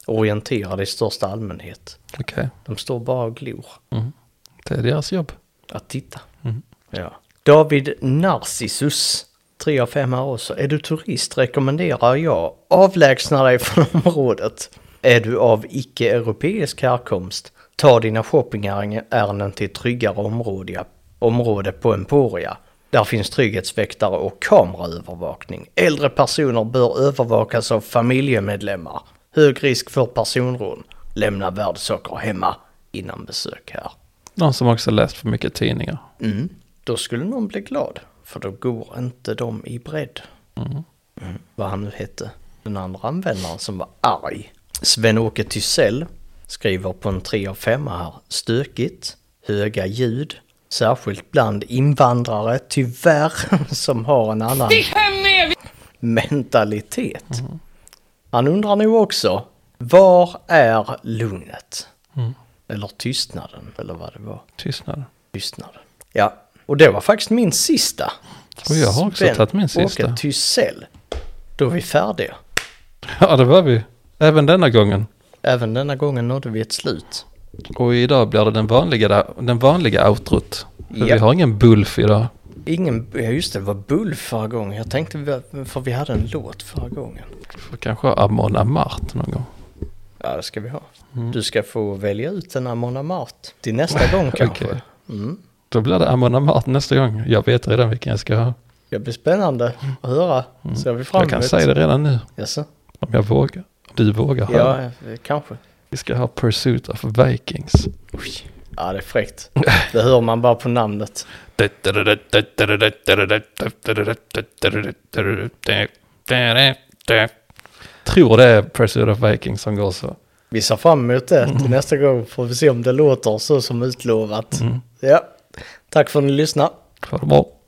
S1: orienterad i största allmänhet.
S2: Okej.
S1: De står bara och glor.
S2: Det är deras jobb.
S1: Att titta. Ja. David Narcissus, 3 av 5 här också. Är du turist rekommenderar jag avlägsna dig från området. Är du av icke-europeisk härkomst, ta dina shoppingärenden till tryggare område, område på Emporia. Där finns trygghetsväktare och kameraövervakning. Äldre personer bör övervakas av familjemedlemmar. Hög risk för personrån. Lämna värdesaker hemma innan besök här.
S2: Någon som också läst för mycket tidningar.
S1: Mm. Då skulle någon bli glad, för då går inte de i bredd. Mm. Vad han nu hette. Den andra användaren som var arg. Sven-Åke Tysell skriver på en 3 av 5 här. Stökigt, höga ljud, särskilt bland invandrare, tyvärr, som har en annan
S4: Stick hem med er!
S1: mentalitet. Han undrar nog också, var är lugnet? Eller tystnaden, eller vad det var
S2: Tystnad.
S1: tystnad. Ja, och det var faktiskt min sista.
S2: Och jag har också tagit min sista.
S1: Åke Tysell. Då är vi färdiga.
S2: Ja, det var vi. Även denna gången.
S1: Även denna gången nådde vi ett slut.
S2: Och idag blir det den vanliga, den vanliga outrot. För
S1: Ja.
S2: Vi har ingen bulf idag.
S1: Ingen, ja just det, det var Bull förra gången. Jag tänkte, vi- för vi hade en låt förra gången.
S2: Vi får kanske ha Amon Amart någon gång.
S1: Ja, det ska vi ha.
S2: Mm.
S1: Du ska få välja ut en Amon Amart till nästa gång kanske. Mm.
S2: Okej. Då blir det Amon Amart nästa gång. Jag vet redan vilken jag ska ha.
S1: Det blir spännande att höra. Ser vi fram
S2: Mm. Jag kan säga det redan nu.
S1: Jaså?
S2: Om jag vågar. Om du vågar höra.
S1: Ja, eh, kanske.
S2: Vi ska ha Pursuit of Vikings.
S1: Ja, det är fräckt. Det hör man bara på namnet.
S2: Tror det är Pursuit of Vikings som går så.
S1: Vi ser fram emot det. Till nästa gång får vi se om det låter så som utlovat. Ja. Tack för att ni lyssnade.
S2: Ha det bra.